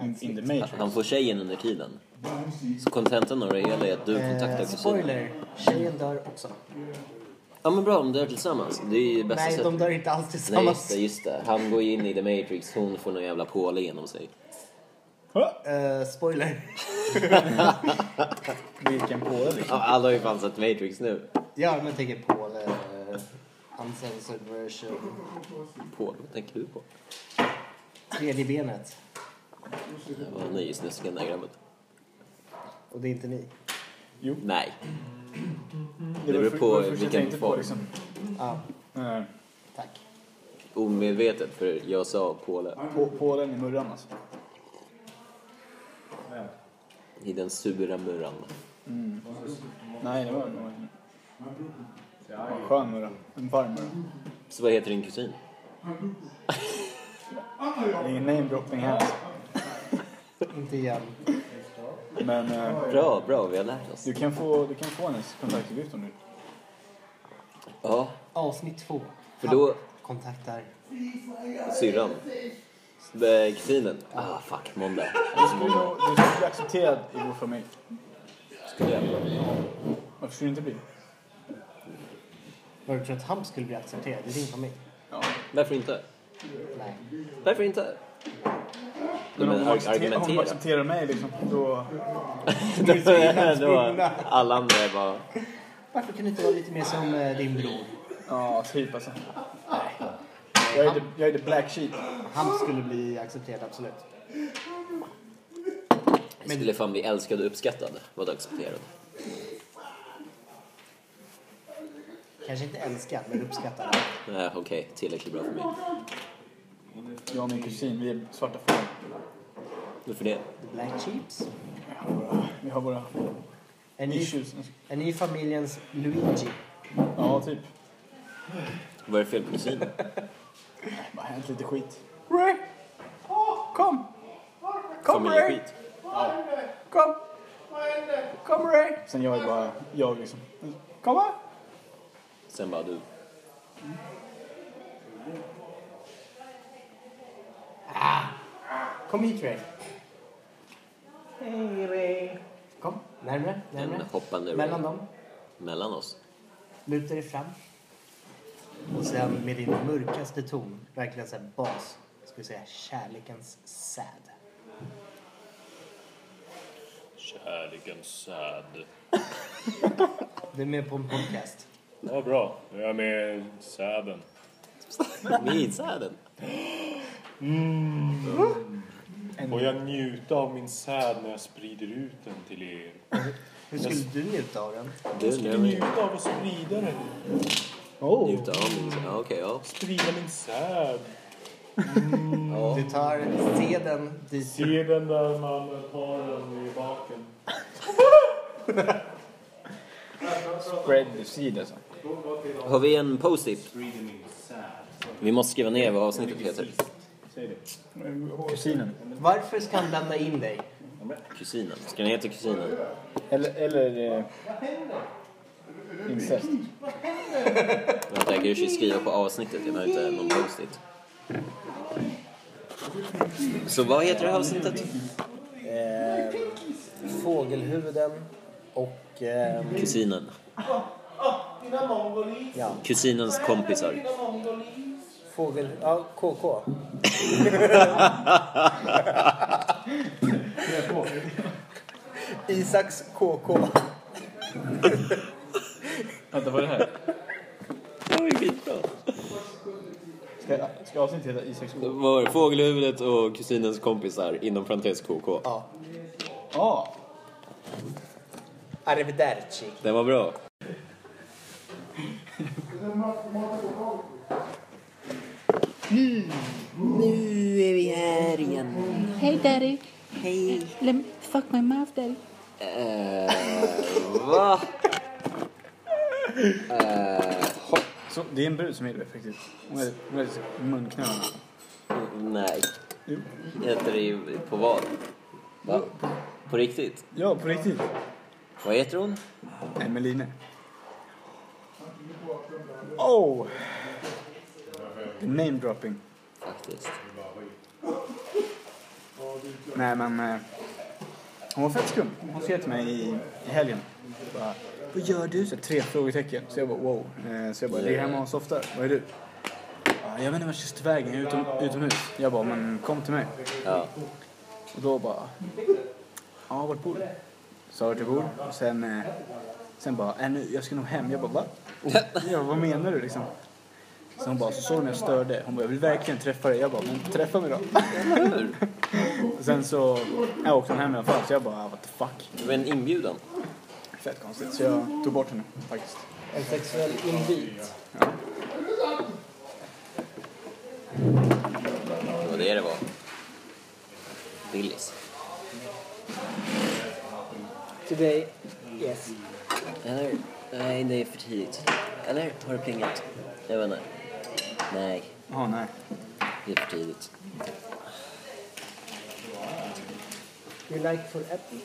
In, in the
Han-
matrix.
Han får tjejen under tiden. Så kontentan av det hela är att du kontaktar
Eh,
kusinen.
spoiler, tjejen dör också.
Ja men bra, de dör tillsammans. Det är ju bästa
Nej,
sättet.
de dör inte alls
alltså Nej, just
tillsammans.
det, just det. Han går ju in i The Matrix, hon får någon jävla påle genom sig.
Ha!
Eh, spoiler.
Vilken påle liksom.
Ja, alla har ju fan sett Matrix nu.
Ja, men jag tänker på uh, Uncensored version.
Påle, vad tänker du på?
Tredje benet.
Det var ny i snusken där grabben.
Och det är inte ni.
Nej.
var
beror
för-
på
var det första
vilken
jag tänkte på
form.
liksom.
Ja,
Eh,
tack.
Omedvetet, för jag sa påle.
På, pålen i murran alltså.
I den sura murran.
Nej, det var det var- det var en skön murra. En varm murra.
Så vad heter din kusin?
Det är ingen name dropping här alltså.
Inte igen.
Men eh,
Bra, bra, vi har lärt oss.
du, kan få, du kan få hennes kontaktuppgift om du vill.
Ja,
Avsnitt två.
för då...
Kontaktar.
Syrran. Eh, Kusinen. Ah, fuck, måndag.
Du skulle nog du skulle bli accepterad i vår familj.
Skulle jag...
Varför skulle du inte bli?
Vad du tror att han skulle bli accepterad i din familj?
Ja.
Varför inte?
Nej.
Varför inte? Men
Men eh, om hon
ar-
accepterar, om hon
argumentera.
accepterar mig liksom, då...
Då var alla andra är bara...
Varför kan du inte vara lite mer som eh, din bror?
Ja, typ alltså. Jag är, the, jag är the black sheep.
Han skulle bli accepterad, absolut.
Jag skulle fan bli älskad och uppskattad. Vad accepterad.
Kanske inte älskad, men uppskattad.
Nej, Eh, okej. Tillräckligt bra för mig.
Jag och min kusin, vi är svarta får.
Varför det?
The Black Sheeps.
Vi har våra
Är ni,
issues.
är ni familjens Luigi?
Ja, typ.
Vad är det fel på kusinen?
Det har hänt lite skit.
Ray! Kom! Kom Ray!
Familjeskit.
Kom! Kom Ray!
Sen jag är bara jag liksom. Kom här!
Sen bara du.
Kom hit Ray. Hej Ray. Kom, närmare,
En
närmare.
hoppande
Mellan
Mellan,
dem.
Mellan oss.
Luta dig fram. Och sen med din mörkaste ton, verkligen så här bas, ska vi säga kärlekens säd.
Kärleken sad.
Du är med på en podcast.
Ja, bra. Jag är med i säden.
Min säden.
Och jag njuta av min säd när jag sprider ut den till er.
Hur skulle du njuta av den?
Du, nu är vi...
Njuta av att sprida den.
Njuta av min säd. Ja, okej, ja.
Sprida min säd.
ja.
Du tar seden dit du...
Se den där mannen har den i baken.
Spread the seed alltså.
Har vi en post-it?
Reading me sad.
Vi måste skriva ner vad avsnittet heter.
Säg det.
Kusinen.
Varför ska han lämna in dig?
Kusinen. Ska den heta Kusinen?
Eller, eller eh, incest.
Vänta, jag kanske skriva på avsnittet. Jag har inte någon post-it. Så vad heter det här avsnittet?
Eh, fågelhuvuden och... Eh,
Kusinen.
Dina mongolis.
ja,
Kusinens kompisar.
Dina mongolis.
fågel... Ja, KK. Isaks KK.
Vänta, vad är det här?
Oj, skitbra.
Ska, ska avsnittet heta Isaks
Det
ord?
var Fågelhuvudet och kusinens kompisar inom parentes KK.
Ja.
Ja!
Arrivederci.
Den var bra.
Hey, daddy. Hey. Let me fuck my mouth, daddy.
Va?
Så, det är en brud som heter det faktiskt. Hon är, hon är liksom munknöl.
Nej.
Jo.
Heter det ju på vad? Va? På riktigt?
Ja, på riktigt.
Vad heter hon?
Emeline. Oh! The name dropping.
Faktiskt.
Nej men... Eh, hon var fett skum. Hon skrev till mig i, i helgen. Bara, Vad gör du? Så tre frågetecken. Så jag bara wow. Eh, så jag bara, ligger hemma och softar. Vad är du? "Ah, Jag vet inte vart jag ska ta vägen. Jag är utom, utomhus. Jag bara, men kom till mig.
Ja.
Och då bara... Ja, vart bor du? Sa vart jag bor. Och sen, eh, sen bara, äh, nu, jag ska nog hem. Jag bara, va? Oh, Ja, vad menar du liksom? Så hon bara, så såg hon jag störde. Hon bara, jag vill verkligen träffa dig. Jag bara, men träffa mig då.
Hur?
Och sen så jag åkte hon hem i alla fall. Så jag bara, ah, what the fuck.
Det var en inbjudan.
Fett konstigt. Så jag tog bort henne faktiskt.
En sexuell invit.
Det var det det var. Willis.
Today, yes.
Eller? Nej, det är för tidigt. Eller? Har det plingat? Jag vet inte. Nej,
Jaha, nej.
det är för tidigt.
You like for apple?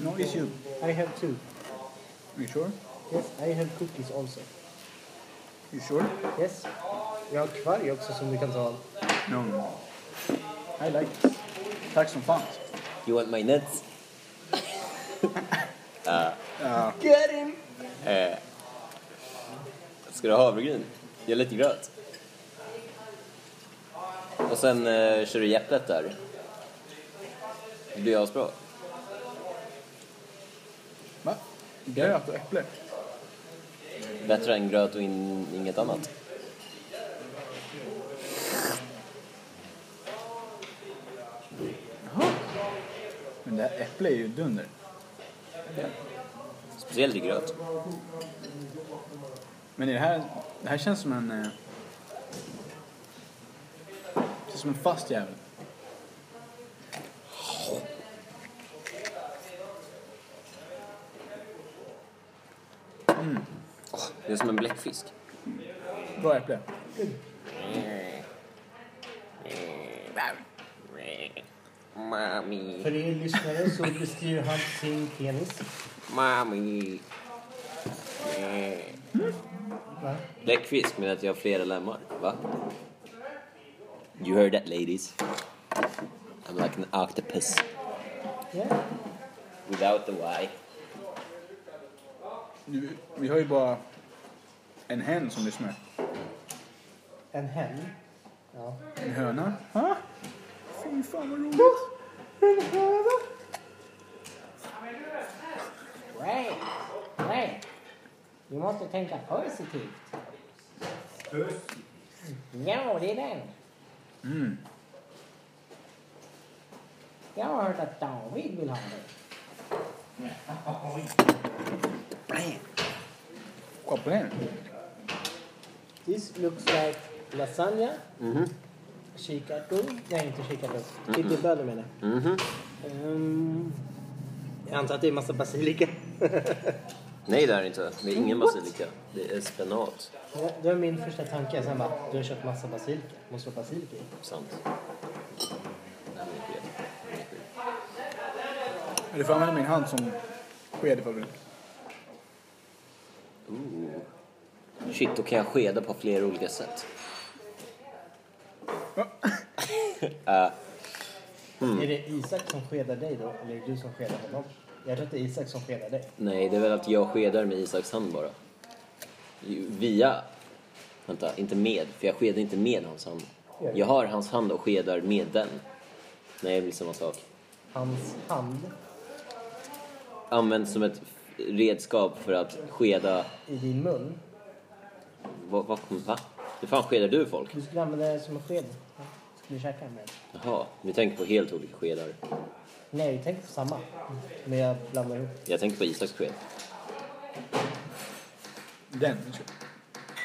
No issue.
I have two.
You sure?
Yes, I have cookies also.
You sure?
Yes. Jag har kvarg också som du kan ta.
No, no. I like this. Tack som fan.
You want my nuts?
Get him!
Eh, Ska du ha havregryn? Gör lite gröt. Och sen eh, kör du i äpplet där. Det blir asbra.
Va? Gröt och äpple?
Bättre än gröt och in, inget annat.
Men det här äpple är ju dunder.
Speciellt i gröt.
Men är det här, det här känns som en... Eh, känns som en fast jävel.
Det är som en bläckfisk.
Bra äpple.
Mami,
För er lyssnare så beskriver han sin penis.
mami.
Va?
Bläckfisk menar att jag har flera lemmar, va? You heard that ladies. I'm like an octopus
Yeah.
without the Y.
Nu, vi har ju bara en hen som lyssnar.
En hen. Ja.
En höna. Ha? Fy fan vad roligt.
Nej, nej. Du måste tänka positivt. Ja, det är den.
Mm.
Jag har hört att David vill ha dig.
Kolla på den.
This looks like lasagna. Kikärtor. Nej, inte kikärtor. Kycklingbönor menar jag. Ehm, jag antar att det är massa basilika.
Nej, det är det inte. Det är ingen basilika. Det är spenat.
Ja, det var min första tanke. Sen bara, du har köpt massa basilika. Måste vara basilika i.
Sant. Nej, men det är fel. Det är fel.
Du får använda min hand som sked ifall du vill.
Shit, då kan jag skeda på flera olika sätt.
Är det Isak som skedar dig då? Eller är det du som skedar honom? Jag tror att det är Isak som skedar dig.
Nej, det är väl att jag skedar med Isaks hand bara. Ju- Via... Vänta, inte med. För jag skedar inte med hans hand. Jag har hans hand och skedar med den. Nej, det blir samma sak.
Hans hand
Används som ett redskap för att skeda...
i din mun.
Vad? Va, va? Hur fan skedar du folk?
Du skulle använda det som en sked. Ja, Skulle du käka med den?
Jaha, vi tänker på helt olika skedar.
Nej, jag tänkte på samma. Men jag blandar ihop.
Jag tänker på Isaks sked.
Den.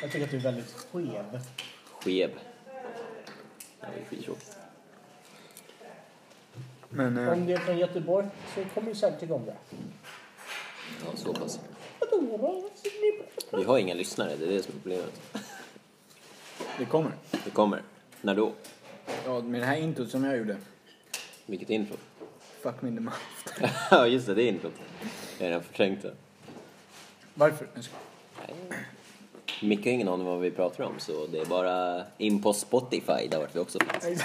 Jag tycker att du är väldigt skev.
Skev. Ja, det är skitjobbigt.
Men eh,
Om du är från Göteborg så kommer du säkert igång det.
Ja, så pass. Vi har inga lyssnare, det är det som är problemet.
det kommer.
Det kommer. När då?
Ja, med det här introt som jag gjorde.
Vilket intro?
Fuck me in the mouth.
Ja, just det, det är introt. Jag har redan förträngt det.
Varför? Jag ska-
Micke har ingen aning om vad vi pratar om, så det är bara in på Spotify, där vart vi också finns.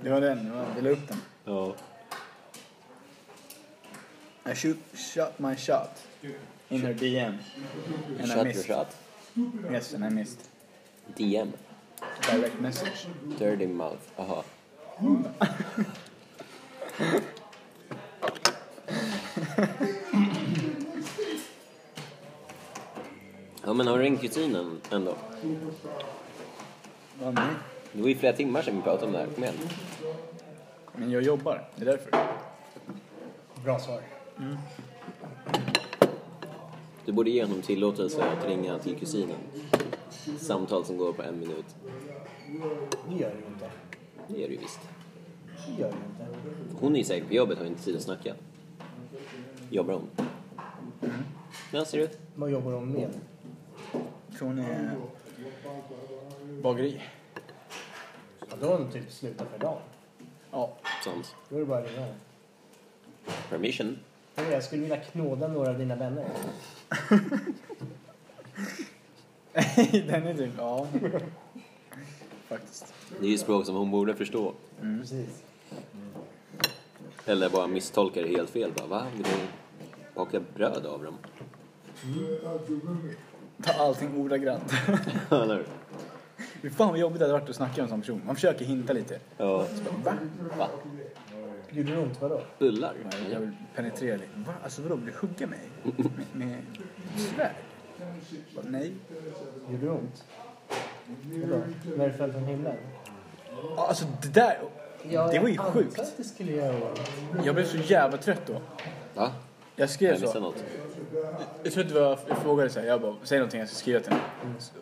Det var den. det var- Vi la upp den.
Ja.
I shoot, shot my shot. In her DM. And I
Shut your
missed.
shot.
Yes, and I missed.
DM.
Direct message.
Dirty mouth. Jaha. Ja men har du ringt kusinen ändå?
Vad med?
Det var ju flera timmar sedan vi pratade om det här, kom igen.
Men jag jobbar. Det är därför.
Bra svar.
Du borde ge honom tillåtelse att ringa till kusinen. Samtal som går på en minut.
Det gör du inte.
Det är det ju visst.
Det gör du inte.
Hon är ju säkert på jobbet har inte tid att snacka. Jobbar hon? Ja, ser du?
Vad jobbar de med?
Så hon är... Bageri.
Ja, då har de typ slutat för dagen.
Ja.
Sånt.
Då är det bara att ringa.
Permission.
Hörru, Jag skulle vilja knåda några av dina vänner.
den är typ... Ja. Faktiskt.
Det är ju språk som hon borde förstå.
Precis.
Eller bara misstolkar det helt fel. Bara, va? Vill du baka bröd av dem?
Ta allting ordagrant.
Eller hur?
Fy fan vad jobbigt det hade varit att snacka med en sån person. Man försöker hinta lite.
Ja.
Va?
Va?
Gjorde det ont? Vadå?
Bullar?
Nej, Jag vill penetrera lite. Va? Alltså vadå, vill du hugga mig? Med, med svärd? Bara, Nej.
Gjorde det ont? Vadå? När du föll från himlen?
Ja, Alltså det där... Det var ju
jag
sjukt.
antar att det skulle göra ont.
Jag blev så jävla trött då.
Va?
Jag
Jag
skrev
missade
så.
något.
Jag tror att det var, jag frågade så här, jag bara, säg någonting jag ska skriva till henne.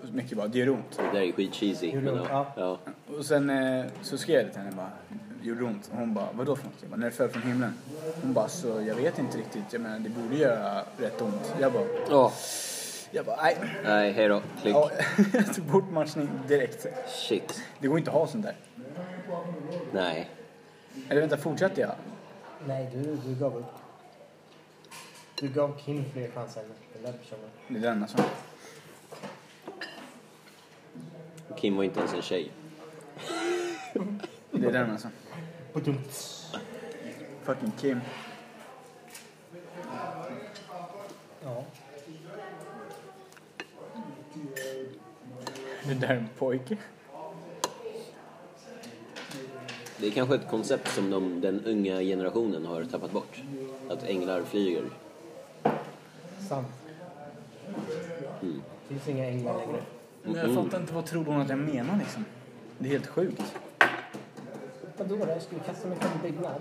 Och Micke bara, det gör ont.
Det där är ju skitcheesy.
Gjorde
men
det?
Ja. ja.
Och sen eh, så skrev jag till henne bara, gjorde ont. Och hon bara, vadå för något? Jag bara, när det föll från himlen. Hon bara, så jag vet inte riktigt. Jag menar, det borde göra rätt ont. Jag bara,
Åh,
jag bara, nej.
Nej, hej då. Klick.
Ja, jag tog bort matchning direkt.
Shit.
Det går inte att ha sånt där.
Nej.
Eller vänta, fortsatte jag?
Nej, du, du gav upp. Du gav Kim fler chanser än den där personen.
Det är den alltså.
Kim var inte ens en tjej.
Det är den alltså.
Badum.
Fucking Kim.
Ja.
Det där är en pojke.
Det är kanske ett koncept som de, den unga generationen har tappat bort. Att änglar flyger.
Sant.
Mm.
Det finns inga änglar längre.
Men jag fattar inte vad trodde hon att jag menar liksom. Det är helt sjukt.
Vadå då? Jag skulle kasta mig från en byggnad.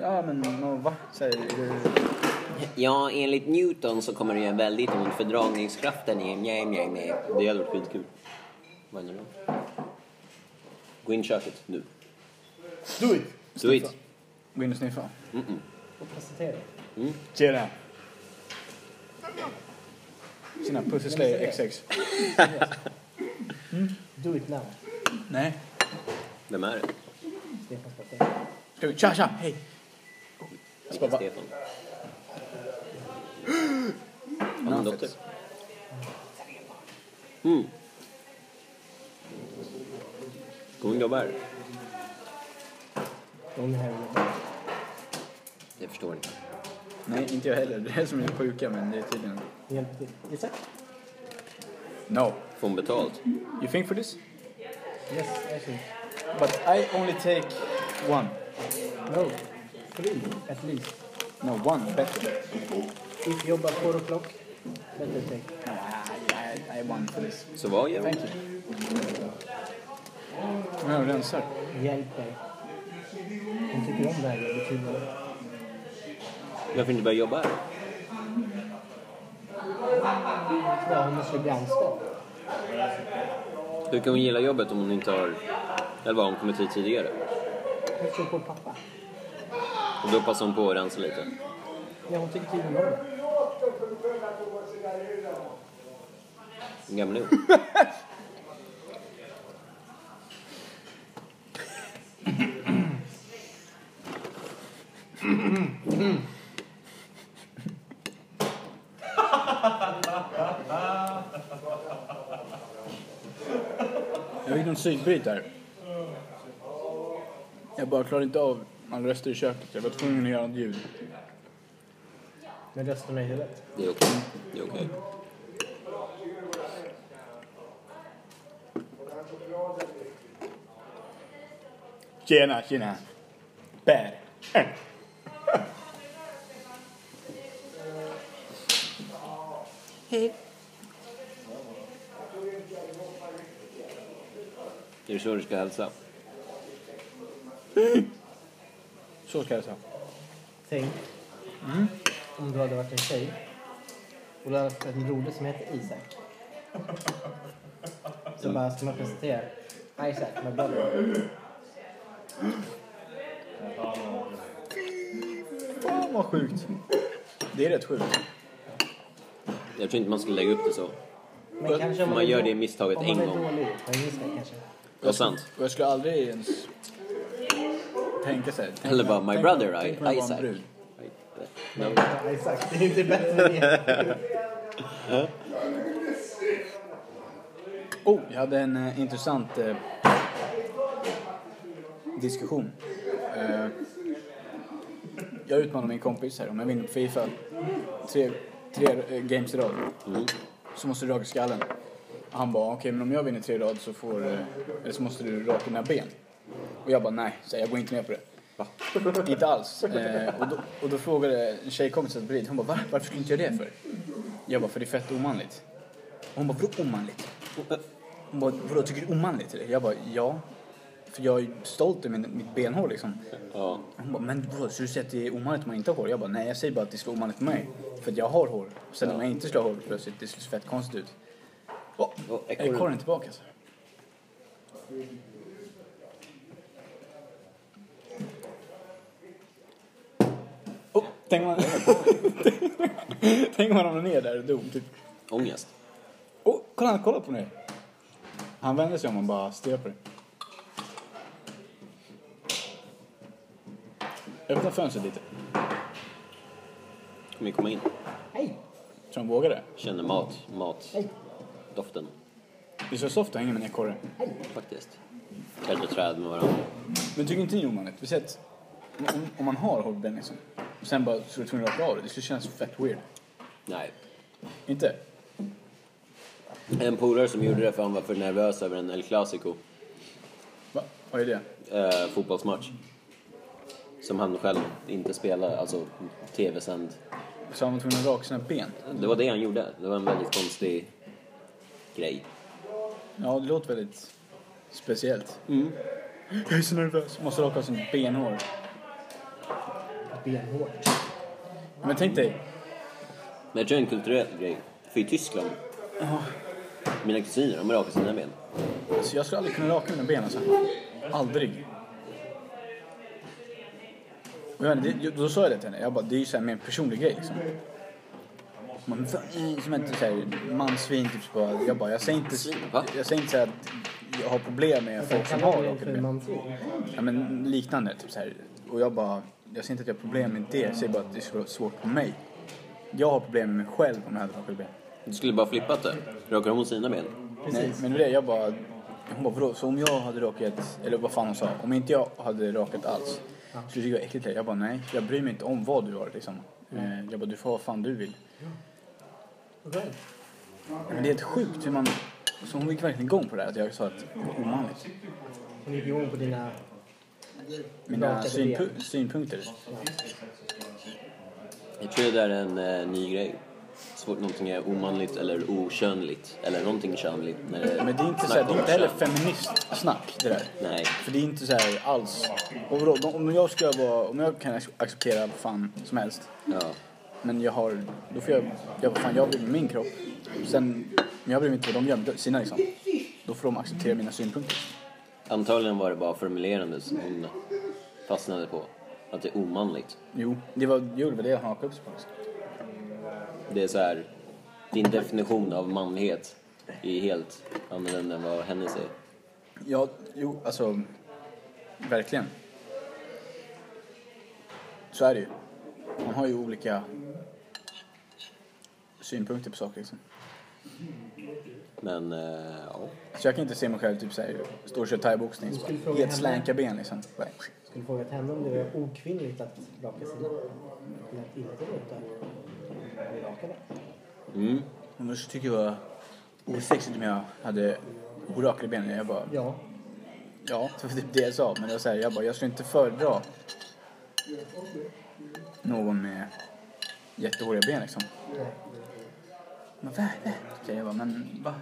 Ja men och va? Så här, eh,
Ja, enligt Newton så kommer det göra väldigt ont för dragningskraften är mjä, mjä, mjä. Det hade varit skitkul. Vad händer då? Gå in i köket nu.
Do it!
Do it!
Gå in och sniffa.
Och presentera.
Tjena! Tjena Pussy Slayer XX.
Do it now.
Nej.
Vem är det?
Stefan ska säga.
Ska vi? Tja tja! Hej! Jag ska
Vilken
bara...
Stefan? Han är en doktor. Mm. Hon jobbar.
Hon är här inne.
Jag förstår inte.
Nej inte jag heller. Det är som är sjuka men det är tydligen...
Hjälp till. Isak?
No.
Får hon betalt?
You think for this?
Yes, I think.
But I only take one.
No. Three, at least.
No, one better.
If you jobbar four o'clock, better take.
No, I, I, I one for this.
Så vad gör hon?
Thank you. Men jag rensar.
Hjälp dig. Hon tycker om det här jobbet tydligen.
Varför inte börja jobba här?
Ja, hon måste bli anställd.
Hur kan hon gilla jobbet om hon inte har... Eller vad, hon kommit hit tidigare?
Hon tror på pappa.
Och då passar hon på att rensa lite.
Ja, hon tycker tydligen om det.
Hur gammal är hon?
Jag fick någon psykbryt där. Jag bara klarade inte av alla röster i köket. Jag var tvungen att göra något ljud.
Med rösterna i huvudet.
Det är okej. Det är okej.
Tjena, tjena. Mm. Bär.
Hej.
Är det så du ska hälsa?
Så ska jag säga.
Tänk
Mm.
om du hade varit en tjej och du hade haft en broder som heter Isak. Så bara ska man presentera Isaac, my brother.
Fan vad sjukt. Det är rätt sjukt.
Jag tror inte man ska lägga upp det så.
Men kanske
Man
är
gör
då-
det misstaget
om man
en
är
gång.
dålig på engelska kanske.
Vad sant?
Och jag skulle aldrig ens tänka sig. Tänk-
Eller bara, my
tänk-
brother I,
tänk om jag var en
Isaac.
brud.
No.
Ja, Isaac, det är inte bättre än det.
Oh, jag hade en eh, intressant eh, diskussion. Eh, jag utmanade min kompis här, om jag vinner på Fifa tre, tre eh, games i rad så måste du raka skallen. Han bara, okej men om jag vinner tre i rad så får, eh, eller så måste du raka dina ben. Och jag bara, nej, så jag går inte med på det. inte alls. Eh, och, då, och då frågade en tjejkompis som bredvid, hon bara, Va? varför skulle du inte göra det för? Jag bara, för det är fett omanligt. Och hon bara, vadå omanligt? Hon bara, vadå tycker du omanligt? är det?" Jag bara, ja. För jag är stolt över min- mitt benhår liksom.
Ja.
Hon bara, men vadå, så du säger att det är omanligt om man inte har hår? Jag bara, nej jag säger bara att det skulle vara omanligt för mig. För att jag har hår. Sen om jag inte skulle ha hår plötsligt, det skulle se fett konstigt ut. Åh,
Åh, ekorren.
ekorren är tillbaka alltså. Åh, tänk om man... tänk om man ramlade ner där och dog typ.
Ångest.
Åh, kolla han kollar på mig. Han vänder sig om och bara stirrar på dig. Öppna fönstret lite.
Kommer vi komma in?
Hej!
Så han vågar det.
Känner mat. Mat.
Hej!
Doften.
Det är så soft att hänga med en ekorre.
Faktiskt. Träd och träd med varandra.
Men tycker inte ni om det? Vi säger att om, om man har hårdben liksom. Och sen bara skulle tvungen att raka av det. Det skulle kännas fett weird.
Nej.
Inte?
En polare som gjorde det för han var för nervös över en El Clasico
Va? Vad är det?
eh, fotbollsmatch. Som han själv inte spelade, alltså tv-sänd.
Så han var tvungen att raka sina ben?
Det var det han gjorde. Det var en väldigt konstig grej.
Ja, det låter väldigt speciellt. Jag är så nervös. Måste raka sin benhår.
Benhårt.
Men tänk dig.
Men jag tror det är en kulturell grej. För i Tyskland, mina kusiner, de rakar sina ben.
Alltså jag skulle aldrig kunna raka mina ben alltså. Aldrig. Och jag, vet inte, det, då sa jag det till henne. Jag bara, det är ju så här mer en personlig grej liksom. Man, som inte såhär mansvin typ så bara, jag bara, jag säger inte,
Va?
jag säger inte så här att jag har problem med folk som har rakat
för
ben.
mansvin?
Ja, men liknande. Typ så här. Och jag bara, jag ser inte att jag har problem med det. Jag säger bara att det är så svårt för mig. Jag har problem med mig själv om jag hade rakat ben.
Du skulle bara flippat det. Rakar hon sina ben?
Nej, men det var det, jag bara, hon bara, vadå? Så om jag hade rakat, eller vad fan hon sa, om inte jag hade rakat alls. Så det tycker jag är äckligt. Jag bara, nej, jag bryr mig inte om vad du har liksom. Eh, Jag bara, du får ha vad fan du vill.
Okej.
Men det är helt sjukt hur man, så hon gick verkligen igång på det här. Att jag sa att det var omanligt.
Hon gick igång på dina...
Mina
Rakade
synpu-
ben.
synpunkter.
Jag tror det där är en eh, ny grej. Så fort någonting är omanligt eller okönligt. Eller någonting könligt. När det
Men det är inte, så
snack
här, det är
om
inte heller
kön.
feministsnack det där.
Nej.
För det är inte så här alls. Och vadå, om- om jag ska vara, om jag kan acceptera vad fan som helst.
Ja.
Men jag har, då får jag göra vad fan jag vill med min kropp. Sen, men jag bryr mig inte vad de gör med sina liksom. Då får de acceptera mina synpunkter.
Antagligen var det bara formulerandet som hon fastnade på. Att det är omanligt.
Jo, det var, jo, det, var det han hakade upp sig på. liksom.
Det är så här, din definition av manlighet är helt annorlunda än vad hennes är.
Ja, jo, alltså. Verkligen. Så är det ju. Man har ju olika synpunkter på saker liksom.
Men, eh, ja.
Så jag kan inte se mig själv typ såhär, stå och köra thaiboxning. så
skulle
bara,
fråga
Helt
henne.
slänka ben liksom. Bara,
Skulle frågat henne om det var okvinnligt att raka sina. Det lät inte låta. Hon rakade.
Mm.
Hon bara, tycker jag var osexigt om jag hade orakade ben. Jag bara,
Ja.
Ja, det var typ det jag sa. Men det var så här, jag bara, jag skulle inte föredra någon med jättehåriga ben liksom. Men vad är det? Okej, jag bara, men va?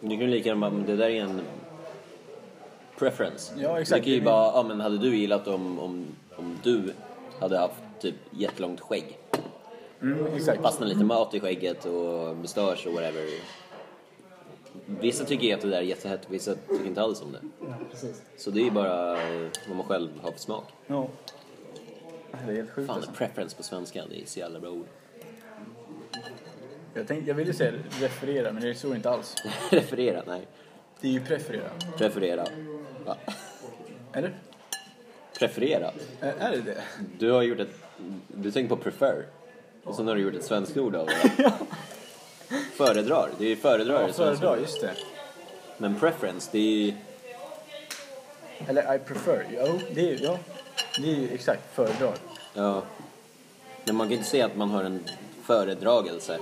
Du kan ju lika gärna bara, men det där är en preference.
Ja, exakt.
Du kan ju bara, ja men hade du gillat om, om, om du hade haft typ jättelångt skägg?
Mm, exakt.
Fastnat lite mat i skägget och mustasch och whatever. Vissa tycker ju att det där är jättehett, vissa tycker inte alls om det.
Ja, precis.
Så det är ju bara eh, vad man själv har för smak.
Ja. Det är helt sjukt
Fan,
alltså.
preference på svenska, det är så jävla bra ord.
jag, tänkte, jag ville säga referera, men det står inte alls.
Referera? Nej.
Det är ju preferera.
Preferera. Va?
Eller?
Preferera?
Ä- Är det det?
Du har gjort ett... Du tänker på prefer. Och sen har du gjort ett svenskt ord av det. Föredrar. Det är ju föredrar. i
Ja,
svenska.
föredrar, just det.
Men preference, det är ju...
Eller I prefer. Jo, det är ju, ja. Det är ju exakt föredrar.
Ja. Men man kan ju inte säga att man har en föredragelse.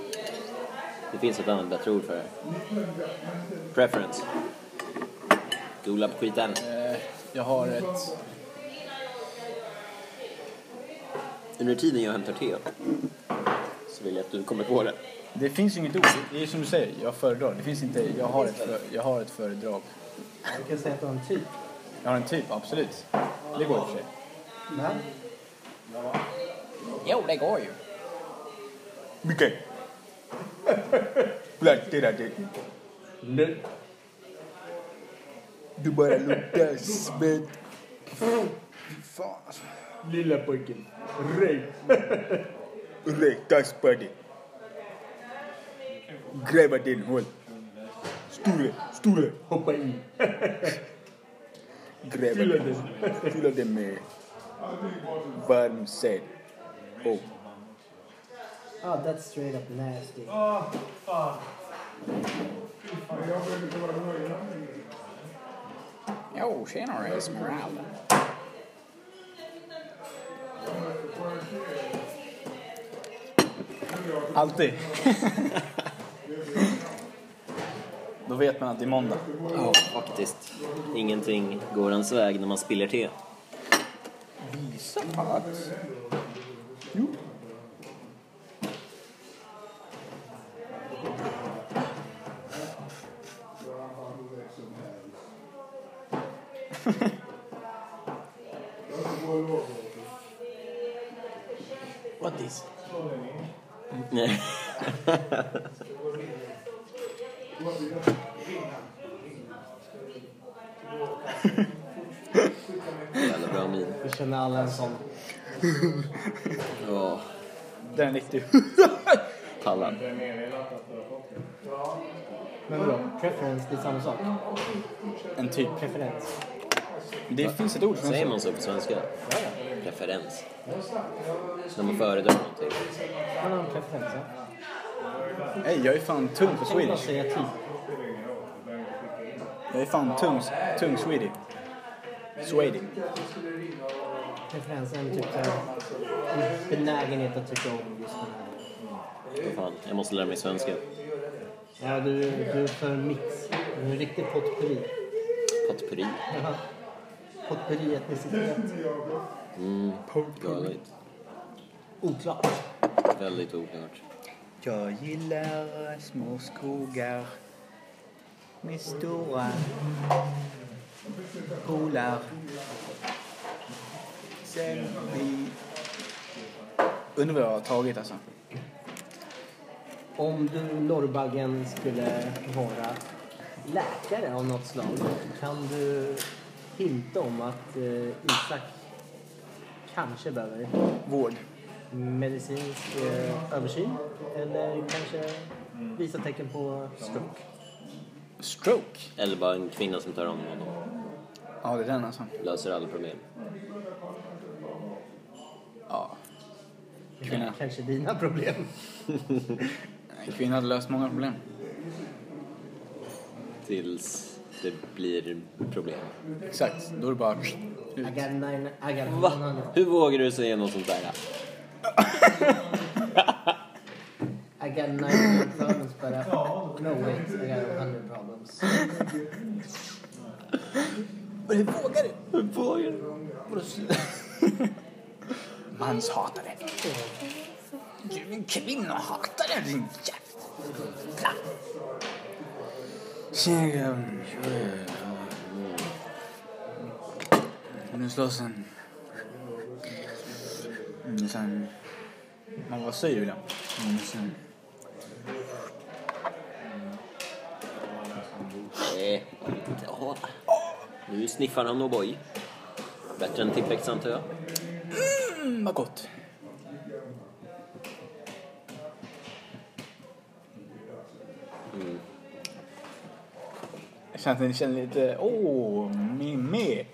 Det finns ett annat bättre ord för det. Preference. Googla på skiten.
Eh, Jag har ett...
Under tiden jag hämtar te så vill jag att du kommer på det.
Det finns ju inget ord. Det är som du säger, jag föredrar. Det finns inte, jag har ett, för, jag har ett föredrag.
Du kan säga att du har en typ.
Jag har en typ, absolut. Det går i och för sig.
Men
Jo, det går ju. Mycket. Black, det där, det. Nej. Du bara luktar svett. Fy Fan alltså.
Lilla pojken. Rej.
Räknas på dig. Gräva din hål. Sture, Sture.
Hoppa i.
Gräva
Fylla
den. Fylla den med varm säd. Och
ah, that's straight up nasty.
Jo, tjenare Esmeralda. Alltid. Då vet man att det är måndag.
Ja, faktiskt. Ingenting går ens väg när man spiller te.
Visa att...
What is?
Nej. Jävla bra min.
Vi känner alla en sån.
Ja,
Det är en riktig...
pallar.
Men vadå? Preference, det är samma sak.
En typ.
Preferens.
Det finns ett ord som
Säger man så på svenska? Preferens. När man föredrar någonting.
Han har en preferens, ja.
Nej, jag är fan tung på
Tänk bara
swedish.
säga typ.
Jag är fan tung, tung swedish. Swedish.
Preferens är en typ så här, en benägenhet att tycka om just den
Vad
här.
fan, jag måste lära mig svenska.
Ja, du, du är för en mix. Du är en riktig potpurri.
Potpurri.
Jaha. Potpurri, etnicitet.
Galet.
Oklart.
Väldigt oklart.
Jag gillar små skogar med stora polar. Sen vi... Undrar vad jag har tagit alltså.
Om du, norrbaggen, skulle vara läkare av något slag kan du hinta om att eh, Isak kanske behöver
Vård.
medicinsk eh, översyn eller kanske visa tecken på stroke.
Stroke?
Eller bara en kvinna som tar hand om honom.
Ja, det är den alltså.
Löser alla problem.
Ja. Kvinna.
Kanske dina problem.
En kvinna hade löst många problem.
Tills det blir problem.
Exakt. Då är det bara
I
ut.
got nine, I got
Va? Hur vågar du säga något sånt där?
I got nine problems but I, no wait, I got hundred problems.
Men hur vågar du?
Hur vågar du?
Manshatare. Du är en kvinnohatare, din jävla... Tjena, grabben. Nu slåss han. Mm, Sen... Man vad säger William? Mm, Sen...
Nej. Ja. Nu sniffar han O'boy. Bättre än Tippex antar jag.
Mm, vad gott. Mm. Jag känner att ni känner lite, åh, Mimmi.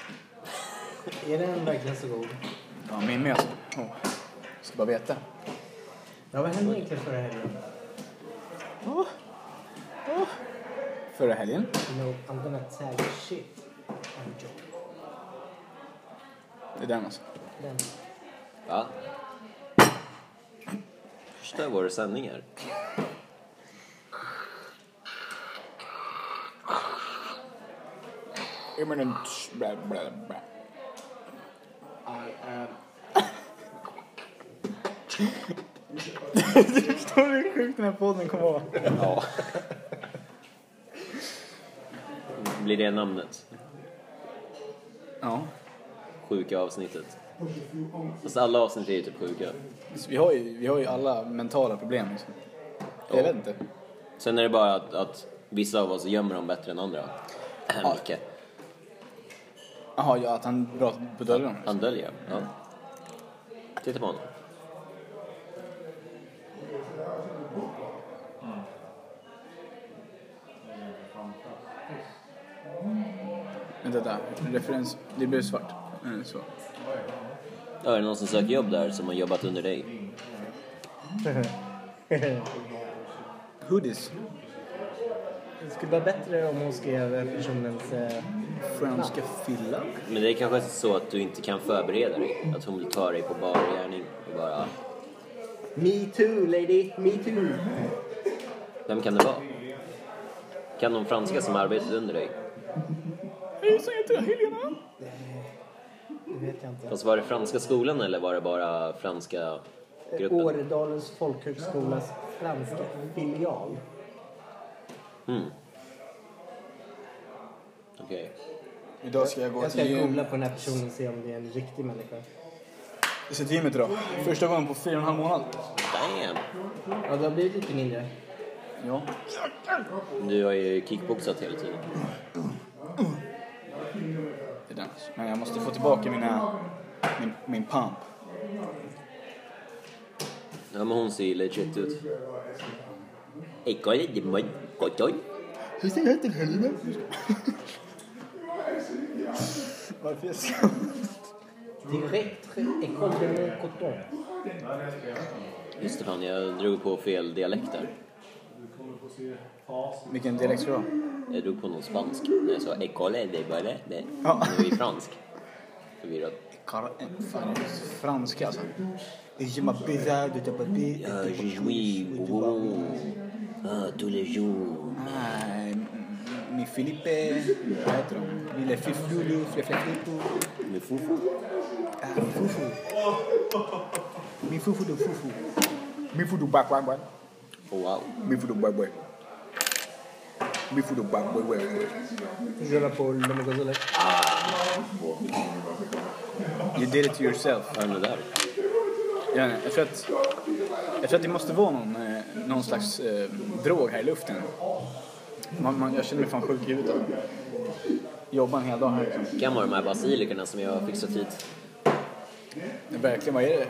Är den verkligen så god?
Ja, Mimmi alltså. Åh, Ska bara veta.
Ja, vad hände egentligen förra helgen?
Förra helgen.
No, I'm gonna tag shit. I'm joking.
Det är den alltså.
Den.
Va? Förstör våra sändningar.
Imminent. Bla, bla, bla.
I am...
Du förstår hur sjuk den här podden kommer vara.
Ja. Blir det namnet?
Ja.
Sjuka avsnittet. Fast alla avsnitt är ju typ sjuka.
Så Vi har ju, vi har ju alla mentala problem liksom. Jag vet inte.
Sen är det bara att, att vissa av oss gömmer dem bättre än andra.
Ja.
Micke.
Jaha, ja, att han pratar på dörren.
Han döljer dem. Ja. Titta på honom.
Vänta, vänta. Referens. Det blev svart. Mm, så.
Ja, är det någon som söker jobb där som har jobbat under dig?
Hoodies.
Det skulle vara bättre om hon skrev personens... Eh...
Franska filla.
Men det är kanske så att du inte kan förbereda dig. Att hon vill ta dig på bar gärning och bara...
Me too lady, me too.
Vem kan det vara? Kan de franska som arbetar under dig?
Hejsan, jag heter Helena.
Det vet jag inte.
Fast var det franska skolan eller var det bara franska gruppen?
Åredalens folkhögskolas franska filial.
Okej.
Idag ska jag gå
Jag
till
ska googla
gym.
på den här personen och se om det är en riktig människa.
Jag ska till gymmet idag. Första gången på fyra och en halv månad.
Damn!
Ja, det har blivit lite mindre.
Ja.
Du har ju kickboxat hela tiden.
Det är dans. Men jag måste få tillbaka mina, min, min pump.
Ja men hon ser ju legit ut. Ey, kolla, det är mig. Oj, oj.
Hejsan, jag heter Helena. Varför jag ska...
Direkt École de Coton.
Just det fan, jag drog på fel dialekt där.
Vilken dialekt ska du ha?
Jag drog på någon spansk. När jag sa ey, kolla, det är bara det.
Ja.
Det var ju fransk. Förvirrad.
Kar- eh, fan, Franska alltså. Je m'appelle de ta papi.
Ah, je jouis
er
bonbon. Ah, tous les jours.
Mi Filipe. Vad heter de? Lille Fifflulu, Flefleflipo.
Med fufu.
Ah, mi Fufu. Mi Fufu de Fufu. Mi Fufu Bakwangwan.
Oh, wow.
Mi Fufu Babwe. Mi Fufu Babwe.
Je l'appelle de Mogozolet.
You did it to yourself.
Vad är det där?
Ja, nej, jag, tror att, jag tror att det måste vara någon, eh, någon slags eh, drog här i luften. Man, man, jag känner mig fan sjuk i huvudet. av det. Jobbar en hel dag här liksom.
Kan vara de här basilikerna som jag har fixat hit.
Men Verkligen, vad är det?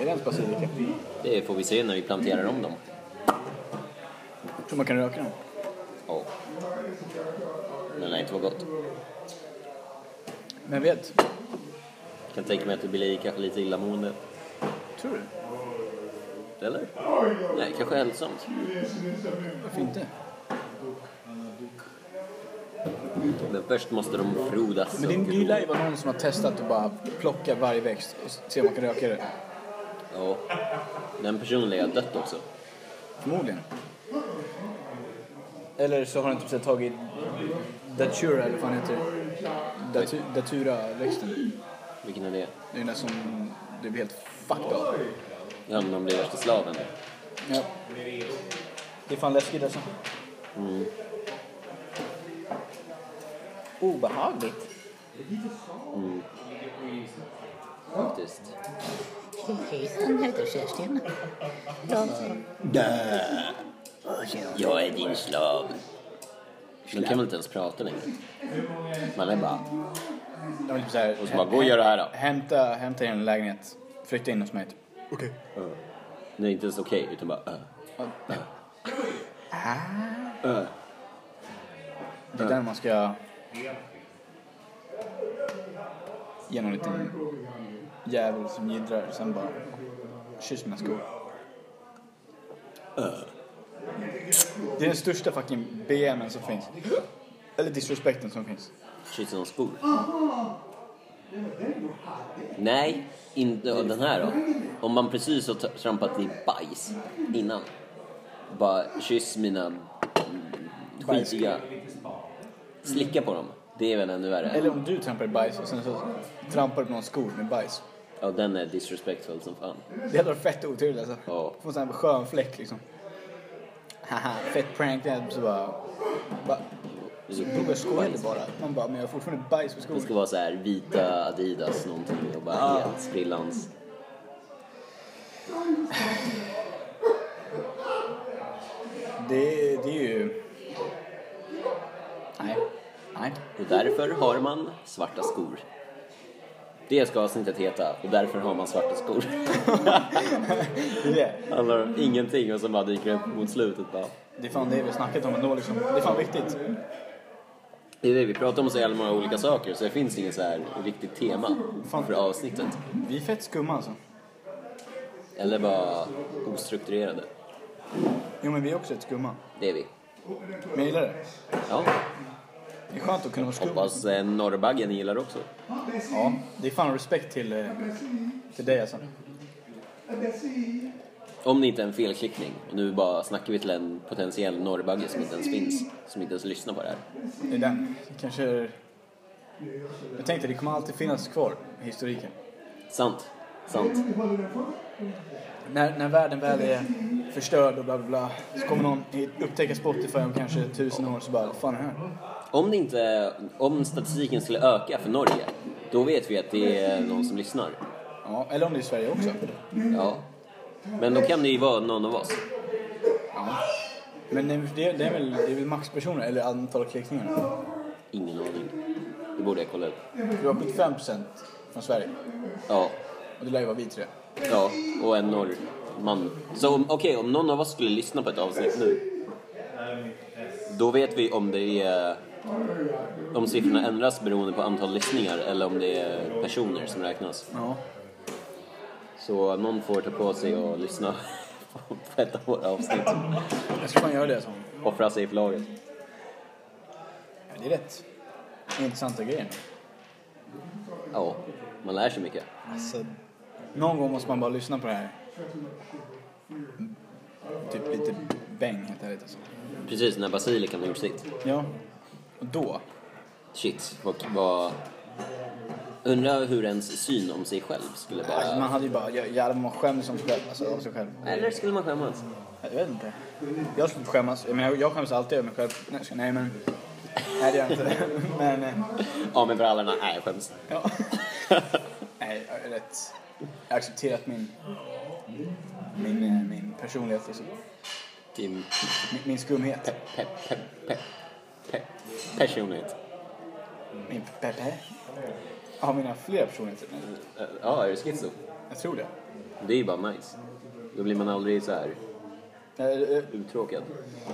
Är det ens basilika?
Det får vi se när vi planterar om dem.
Jag tror man kan röka dem.
Ja. Men nej, inte vad gott.
Men vet?
Kan tänka mig att det blir kanske lite illamående.
Tror du?
Eller? Nej, kanske hälsosamt.
Varför inte?
Men först måste de frodas.
Men det
och
det lär ju vara någon som har testat att bara plocka varje växt och se om man kan röka det.
Ja. Den personliga har dött också.
Förmodligen. Eller så har han typ så här tagit Datura eller vad han heter. Datu- Datura-växten.
Vilken är det?
Det är den där som du blir helt fucked av.
Ja, men de blir värsta slaven.
Ja. Det är fan läskigt alltså. Obehagligt.
Faktiskt.
Hejsan, jag heter Kerstin. Jag,
Jag är din slav. De kan väl inte ens prata längre? Man är bara...
Jag vill typ så här,
Och så bara, gå och gör det här då.
Hämta, hämta er en lägenhet. Flytta in hos mig. typ.
Det är inte ens okej, utan bara... Äh.
Det är där man ska ge någon liten jävel som jiddrar sen bara kyss mina skor. Det är den största fucking BMen som finns. Eller disrespekten som finns.
Kyss någon skor. Nej, inte ja, den här då. Om man precis har t- trampat i bajs innan. Bara kyss mina mm, skitiga... Slicka på dem. Det är väl ännu värre.
Eller om du trampar i bajs och sen så trampar du på någon skor med bajs.
Ja, den är disrespectful som fan.
Det hade varit fett oturligt alltså.
Ja.
Få en sån här skön fläck liksom. Haha, fett prank. där, Så bara... bara så prova jag skojade bara. Man bara, men jag har fortfarande bajs på
Det
skon.
ska vara så här vita Adidas någonting och bara helt sprillans.
Det, det är ju... Nej. Nej.
Och därför har man svarta skor. Det ska avsnittet heta. Och därför har man svarta skor.
Det är det.
handlar om ingenting och sen bara dyker det upp mot slutet bara.
Det är fan det vi har snackat om ändå liksom. Det är fan viktigt.
Det är det, vi pratar om så jävla många olika saker så det finns inget så här riktigt tema
Fan.
för avsnittet.
Vi är fett skumma alltså.
Eller bara ostrukturerade.
Jo men vi är också rätt skumma.
Det är vi.
Men jag gillar det.
Ja,
Det är skönt att kunna vara skum.
hoppas eh, norrbaggen gillar också.
Ja. Det är fan respekt till, eh, till dig alltså.
Om det inte är en felklickning och nu bara snackar vi till en potentiell norrbagge som inte ens finns, som inte ens lyssnar på det här.
Det är den. Det kanske är... Jag tänkte, det kommer alltid finnas kvar i historiken.
Sant. Sant.
När, när världen väl är förstörd och bla bla bla så kommer någon hit- upptäcka Spotify om kanske tusen år så bara, vad fan är det här?
Om, det inte, om statistiken skulle öka för Norge, då vet vi att det är någon som lyssnar.
Ja, eller om det är Sverige också.
Ja. Men då kan det ju vara någon av oss.
Men det, det, det, är, väl, det är väl maxpersoner, eller antal klickningar.
Ingen aning. Det borde jag kolla upp.
Du har 75% från Sverige.
Ja.
Och det lär ju vara vi tre.
Ja, och en norrman. Så om- okej, om någon av oss skulle lyssna på ett avsnitt nu. Då vet vi om det är... Om siffrorna ändras beroende på antal lyssningar eller om det är personer som räknas.
Ja.
Så någon får ta på sig och lyssna på ett av våra avsnitt.
Jag ska fan göra det. Så.
Offra sig för laget.
Ja, det är rätt intressanta grejer.
Ja, man lär sig mycket.
Alltså, någon gång måste man bara lyssna på det här. Mm, Typ lite bäng, helt ärligt. Alltså.
Precis, när Basilikan har gjort sitt.
Ja. Och då,
Shit, vad... vad... Undrar hur ens syn om sig själv skulle
alltså,
vara.
man hade ju bara, jä- jävlar man skäms som sig själv, alltså, av sig själv.
Eller skulle man skämmas?
Jag vet inte. Jag skulle inte skämmas, jag, menar, jag skäms alltid över mig själv. Nej, jag ska- nej men. Nej det gör jag inte. men, eh,
Ja, men för alla andra, nej jag skäms.
ja. Nej, jag är rätt. Jag har accepterat min, min, eh, min personlighet, alltså.
Din
min, min skumhet.
pe, pe, pe, pe, personlighet.
Min pepe. Jag har mina flera personligheter.
Eh, Ja, är du schizo?
Jag tror det.
Det är ju bara nice. Då blir man aldrig så här
Jag, jag,
uttråkad.
Eh,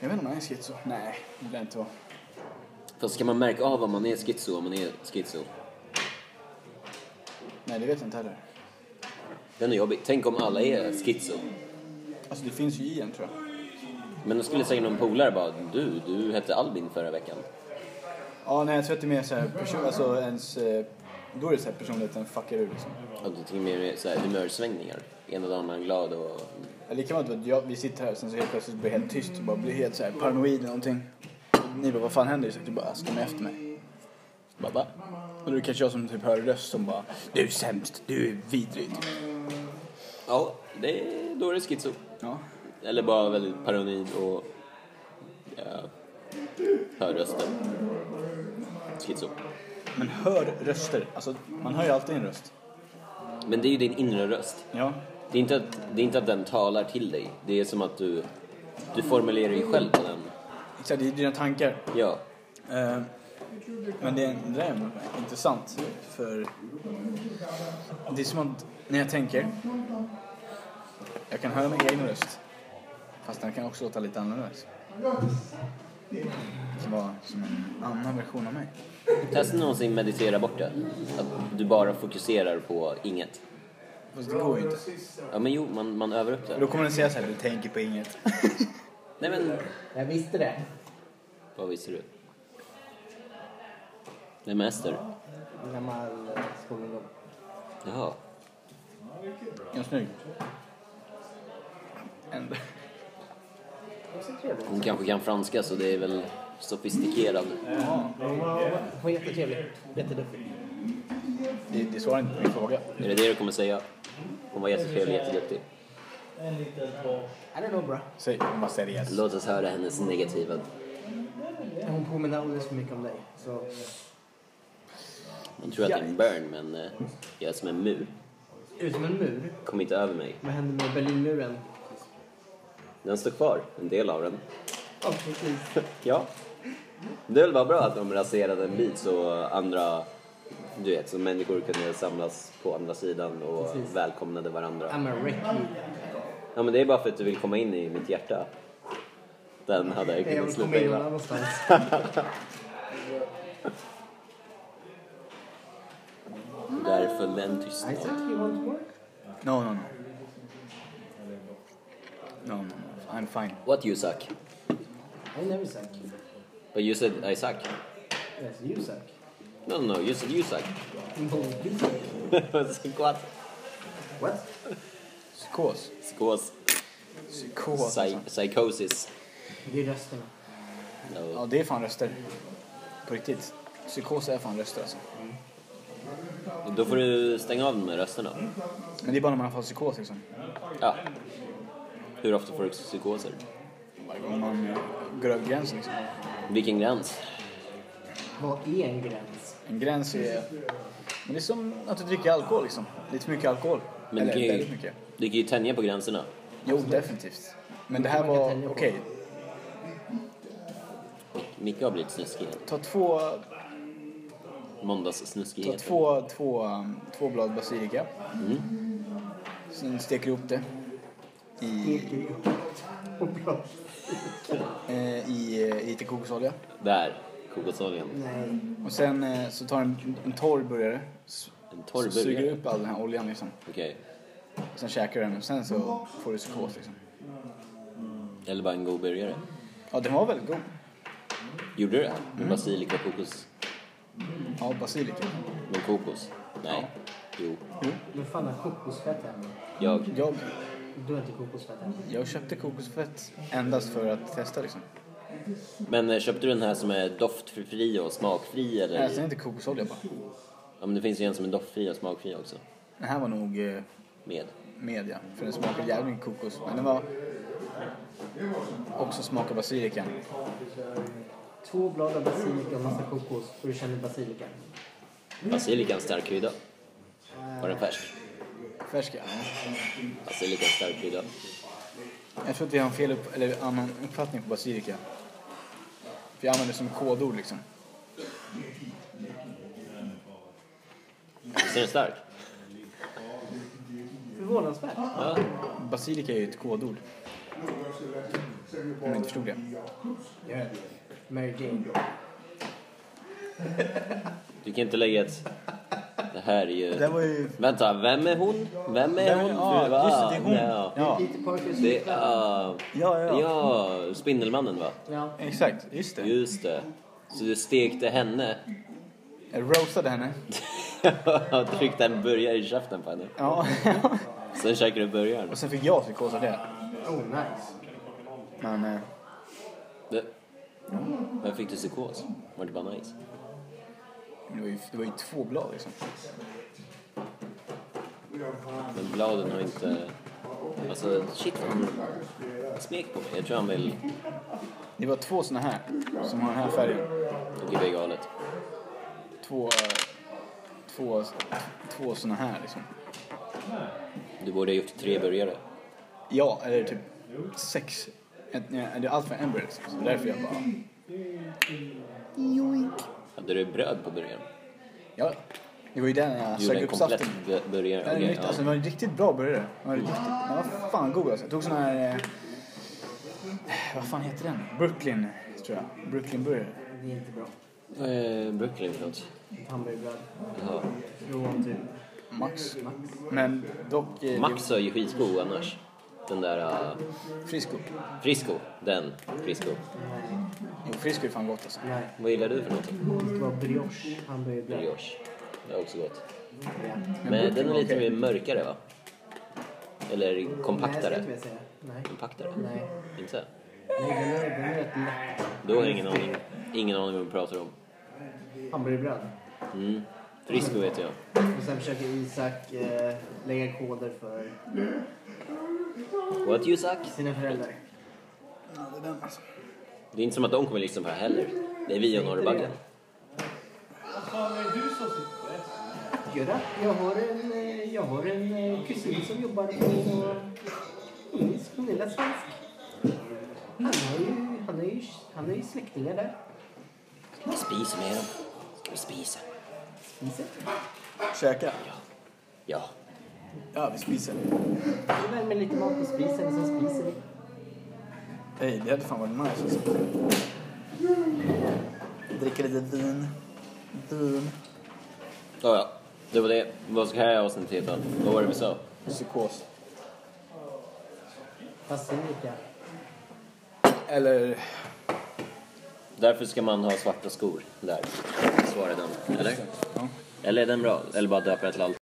jag vet inte om jag är schizo. Nej, det blir jag inte vara.
Fast ska man märka av om man är schizo om man är schizo?
Nej, det vet jag inte heller.
Den är jobbig. Tänk om alla är schizo.
Alltså det finns ju i en tror jag.
Men då skulle säkert någon polare bara du, du hette Albin förra veckan.
Ja, nej jag tror att det är mer såhär person... Alltså ens... eh, Då är det såhär personligheten fuckar ur liksom.
Och det är mer så här humörsvängningar. Ena dagen är man glad och...
Eller det kan vara att jag, vi sitter här och sen så helt plötsligt blir det helt tyst och bara blir helt såhär paranoid eller någonting. Ni bara, vad fan händer? Isak? Du bara, alltså de är efter mig. Bara, va? Och då är det kanske jag som typ hör en röst som bara, du är sämst, du är vidrig. typ.
Ja, det, då är det schizo.
Ja.
Eller bara väldigt paranoid och... Ja, hör rösten. Schizo.
Men hör röster. Alltså man hör ju alltid en röst.
Men det är ju din inre röst.
Ja.
Det är inte att, det är inte att den talar till dig. Det är som att du, du formulerar dig själv på den.
Exakt, det är dina tankar.
Ja.
Eh, Men det är, det är intressant för det är som att när jag tänker jag kan höra min egen röst fast den kan också låta lite annorlunda. Det kan vara som en annan version av mig.
Testa någonsin meditera bort det. Att du bara fokuserar på inget.
Fast det går ju inte.
Ja men jo, man, man övar upp
Då
det.
kommer den säga så här, du tänker på inget.
Nej men...
Jag visste det.
Vad visste du? Vem är Ester?
En gammal eh, skolungdom.
Jaha.
Jag är snygg. Ändå.
Också trevlig.
Hon kanske kan franska så det är väl sofistikerad.
Hon var jättetrevlig. Jätteduktig.
Det, det svarar inte på min fråga.
Är det det du kommer säga? Hon var jättetrevlig, jätteduktig.
Ja, det var bra.
Säg, bara säg det yes.
Låt oss höra hennes negativa.
Hon påminner alldeles för mycket om dig. Så
Hon tror att det är en burn men eh, jag är som en mur.
ut som en mur.
Kom inte över mig.
Vad hände med Berlinmuren?
Den står kvar, en del av den.
Ja, precis.
Ja. Det var bra att de raserade en bit så andra, du vet, så människor kunde samlas på andra sidan och
Precis.
välkomnade varandra.
I'm a wreck.
Ja men det är bara för att du vill komma in i mitt hjärta. Den hade jag
Jag
kunnat
vill
sluta
komma in någon
gilla.
annanstans.
Där föll den
I
tystnad.
said you want more.
No, no, no. No, no, no. I'm fine.
What you suck?
I never suck.
But you said I suck.
Yes, you suck.
No, no, you said you suck.
No, you suck.
I was like, what?
What?
Psykos.
Psykos.
Psykos.
Psy-
Alltså.
psychosis.
Det är rösten.
Ja,
No.
det är fan röster. På riktigt. Psykos är fan röster alltså.
Då får du stänga av de här rösterna.
Men det är bara när man får psykos liksom.
Ja. Hur ofta får du psykoser?
Varje gång man eh, går över gränsen liksom.
Vilken gräns?
Vad är en gräns?
En gräns är... Men det är som att du dricker alkohol liksom. Lite för mycket alkohol.
Men det
Eller
kan ju-
väldigt mycket.
Du kan ju tänja på gränserna.
Jo, definitivt. Men det här
Man kan
var... Okej.
tänja på.
Micke har blivit snuskig igen.
Ta två...
Måndagssnuskig
Ta
heter det.
två, två, um, två blad basilika. Sen steker du ihop det. I, eh, i eh, lite kokosolja.
Där. Kokosoljan.
Nej.
Och sen eh, så tar du en, en torr burgare. S-
En torr
så Suger
burgare.
upp all den här oljan liksom.
Okej.
Sen käkar du den och sen så får du psykos liksom.
Eller bara en god burgare.
Ja, den var väldigt god.
Gjorde du det? Med basilika och kokos?
Ja, basilika.
Med kokos? Nej. Jo.
Men fan har kokosfett hemma?
Jag.
Jag,
Du har inte kokosfett hemma?
jag köpte kokosfett endast för att testa liksom.
Men eh, köpte du den här som är doftfri och smakfri
Nej, alltså
eller?
inte kokosolja bara.
Ja men det finns ju en som är doftfri och smakfri också.
Den här var nog eh,
Med.
media. För den smakar jävligt mycket kokos. Men den var... Också smakar basilika.
Två blad av basilika och massa kokos och du känner basilikan.
Basilikan stark krydda. Var den färsk?
Färsk ja.
Basilikan stark krydda.
Jag tror att vi har en fel upp, eller annan uppfattning på basilika. Vi använder det som kodord liksom.
Visst är den stark?
Förvånansvärt.
Ja.
Basilika är ju ett kodord. Om jag inte förstod det.
Mary Jane.
Du kan inte lägga ett... Det här är ju...
Det var ju...
Vänta, vem är hon? Vem är
Vem-
hon?
ja,
Va?
just det, det är hon.
Ja.
Ja,
Peter Parker som
Det är...
ja, ja. ja.
ja, Spindelmannen va?
Ja.
Exakt, just det.
Just det. Så du stekte henne.
Jag roastade henne.
och tryckte en burgare i käften på henne.
Ja.
Sen käkade du burgaren.
Och sen fick jag psykos av det.
Oh, nice.
Men... Eh,
Det... Men fick du psykos? Var det bara nice?
det var ju, det var ju två blad liksom.
Men bladen har inte... Alltså, shit han smek på mig. Jag tror han vill...
Det var två såna här. Som har den här färgen.
Okej, det är galet.
två, eh, två, två såna här liksom.
Du borde ha gjort tre burgare.
Ja, eller typ sex. Ett, nej, det är allt för en burgare liksom. Så därför jag bara,
Joink.
Hade du bröd på burgaren?
ja. Det var ju den jag
Du gjorde
sög
en
upp
komplett
saften.
bu- burgare.
Den,
Okej,
okay, alltså, den var en riktigt bra burgare. Den var, riktigt, den var fan god alltså. Jag tog sån här, eh, vad fan heter den? Brooklyn, tror jag. Brooklyn burgare.
Det är inte bra.
ja. Eh, Brooklyn för något.
Ett hamburgerbröd.
Jaha.
Från typ...
Max. Men dock, eh,
Max är ju skitgod annars. Den där... eh,
det- Frisco.
Frisco. Den. Frisco.
Nej.
Jo, Frisco är fan gott alltså.
Nej.
Vad gillar du för något?
Det ska vara brioche hamburgerbröd.
Brioche. Det är också gott.
Ja.
Men den är lite
okej.
mer mörkare va? Eller
Nej, det ska
kompaktare?
jag säga. Nej.
Kompaktare?
Nej.
Inte?
Nej, den är, den är rätt lätt.
Då har jag ingen aning. Ingen aning vad vi pratar om.
Hamburgerbröd.
Mm. Frisco vet jag.
Och sen försöker Isak eh, lägga koder för
What you suck?
sina föräldrar.
Det är inte som att de kommer lyssna på det här heller. Det är vi och Norrbaggen.
Göra. Jag har en, eh, jag har en eh, kusin som jobbar på Engelsk, hon är väl svensk. Han har ju, han har ju, han har ju släktingar där.
Vi spiser med dem. Ska vi spisa?
Isak.
Käka?
Ja.
Ja, vi spiser.
Vi värmer lite mat på spisen och sen spiser vi.
Hej, det hade fan varit nice alltså. Dricka lite vin. Vin.
Ja, ja. Det var det. Vad ska det här avsnittet heta? Vad var det vi sa?
Psykos.
Basilika.
Eller...
Därför ska man ha svarta skor. Där. Svarade den. Eller?
Ja.
Eller är den bra? Eller bara döpa den till allt?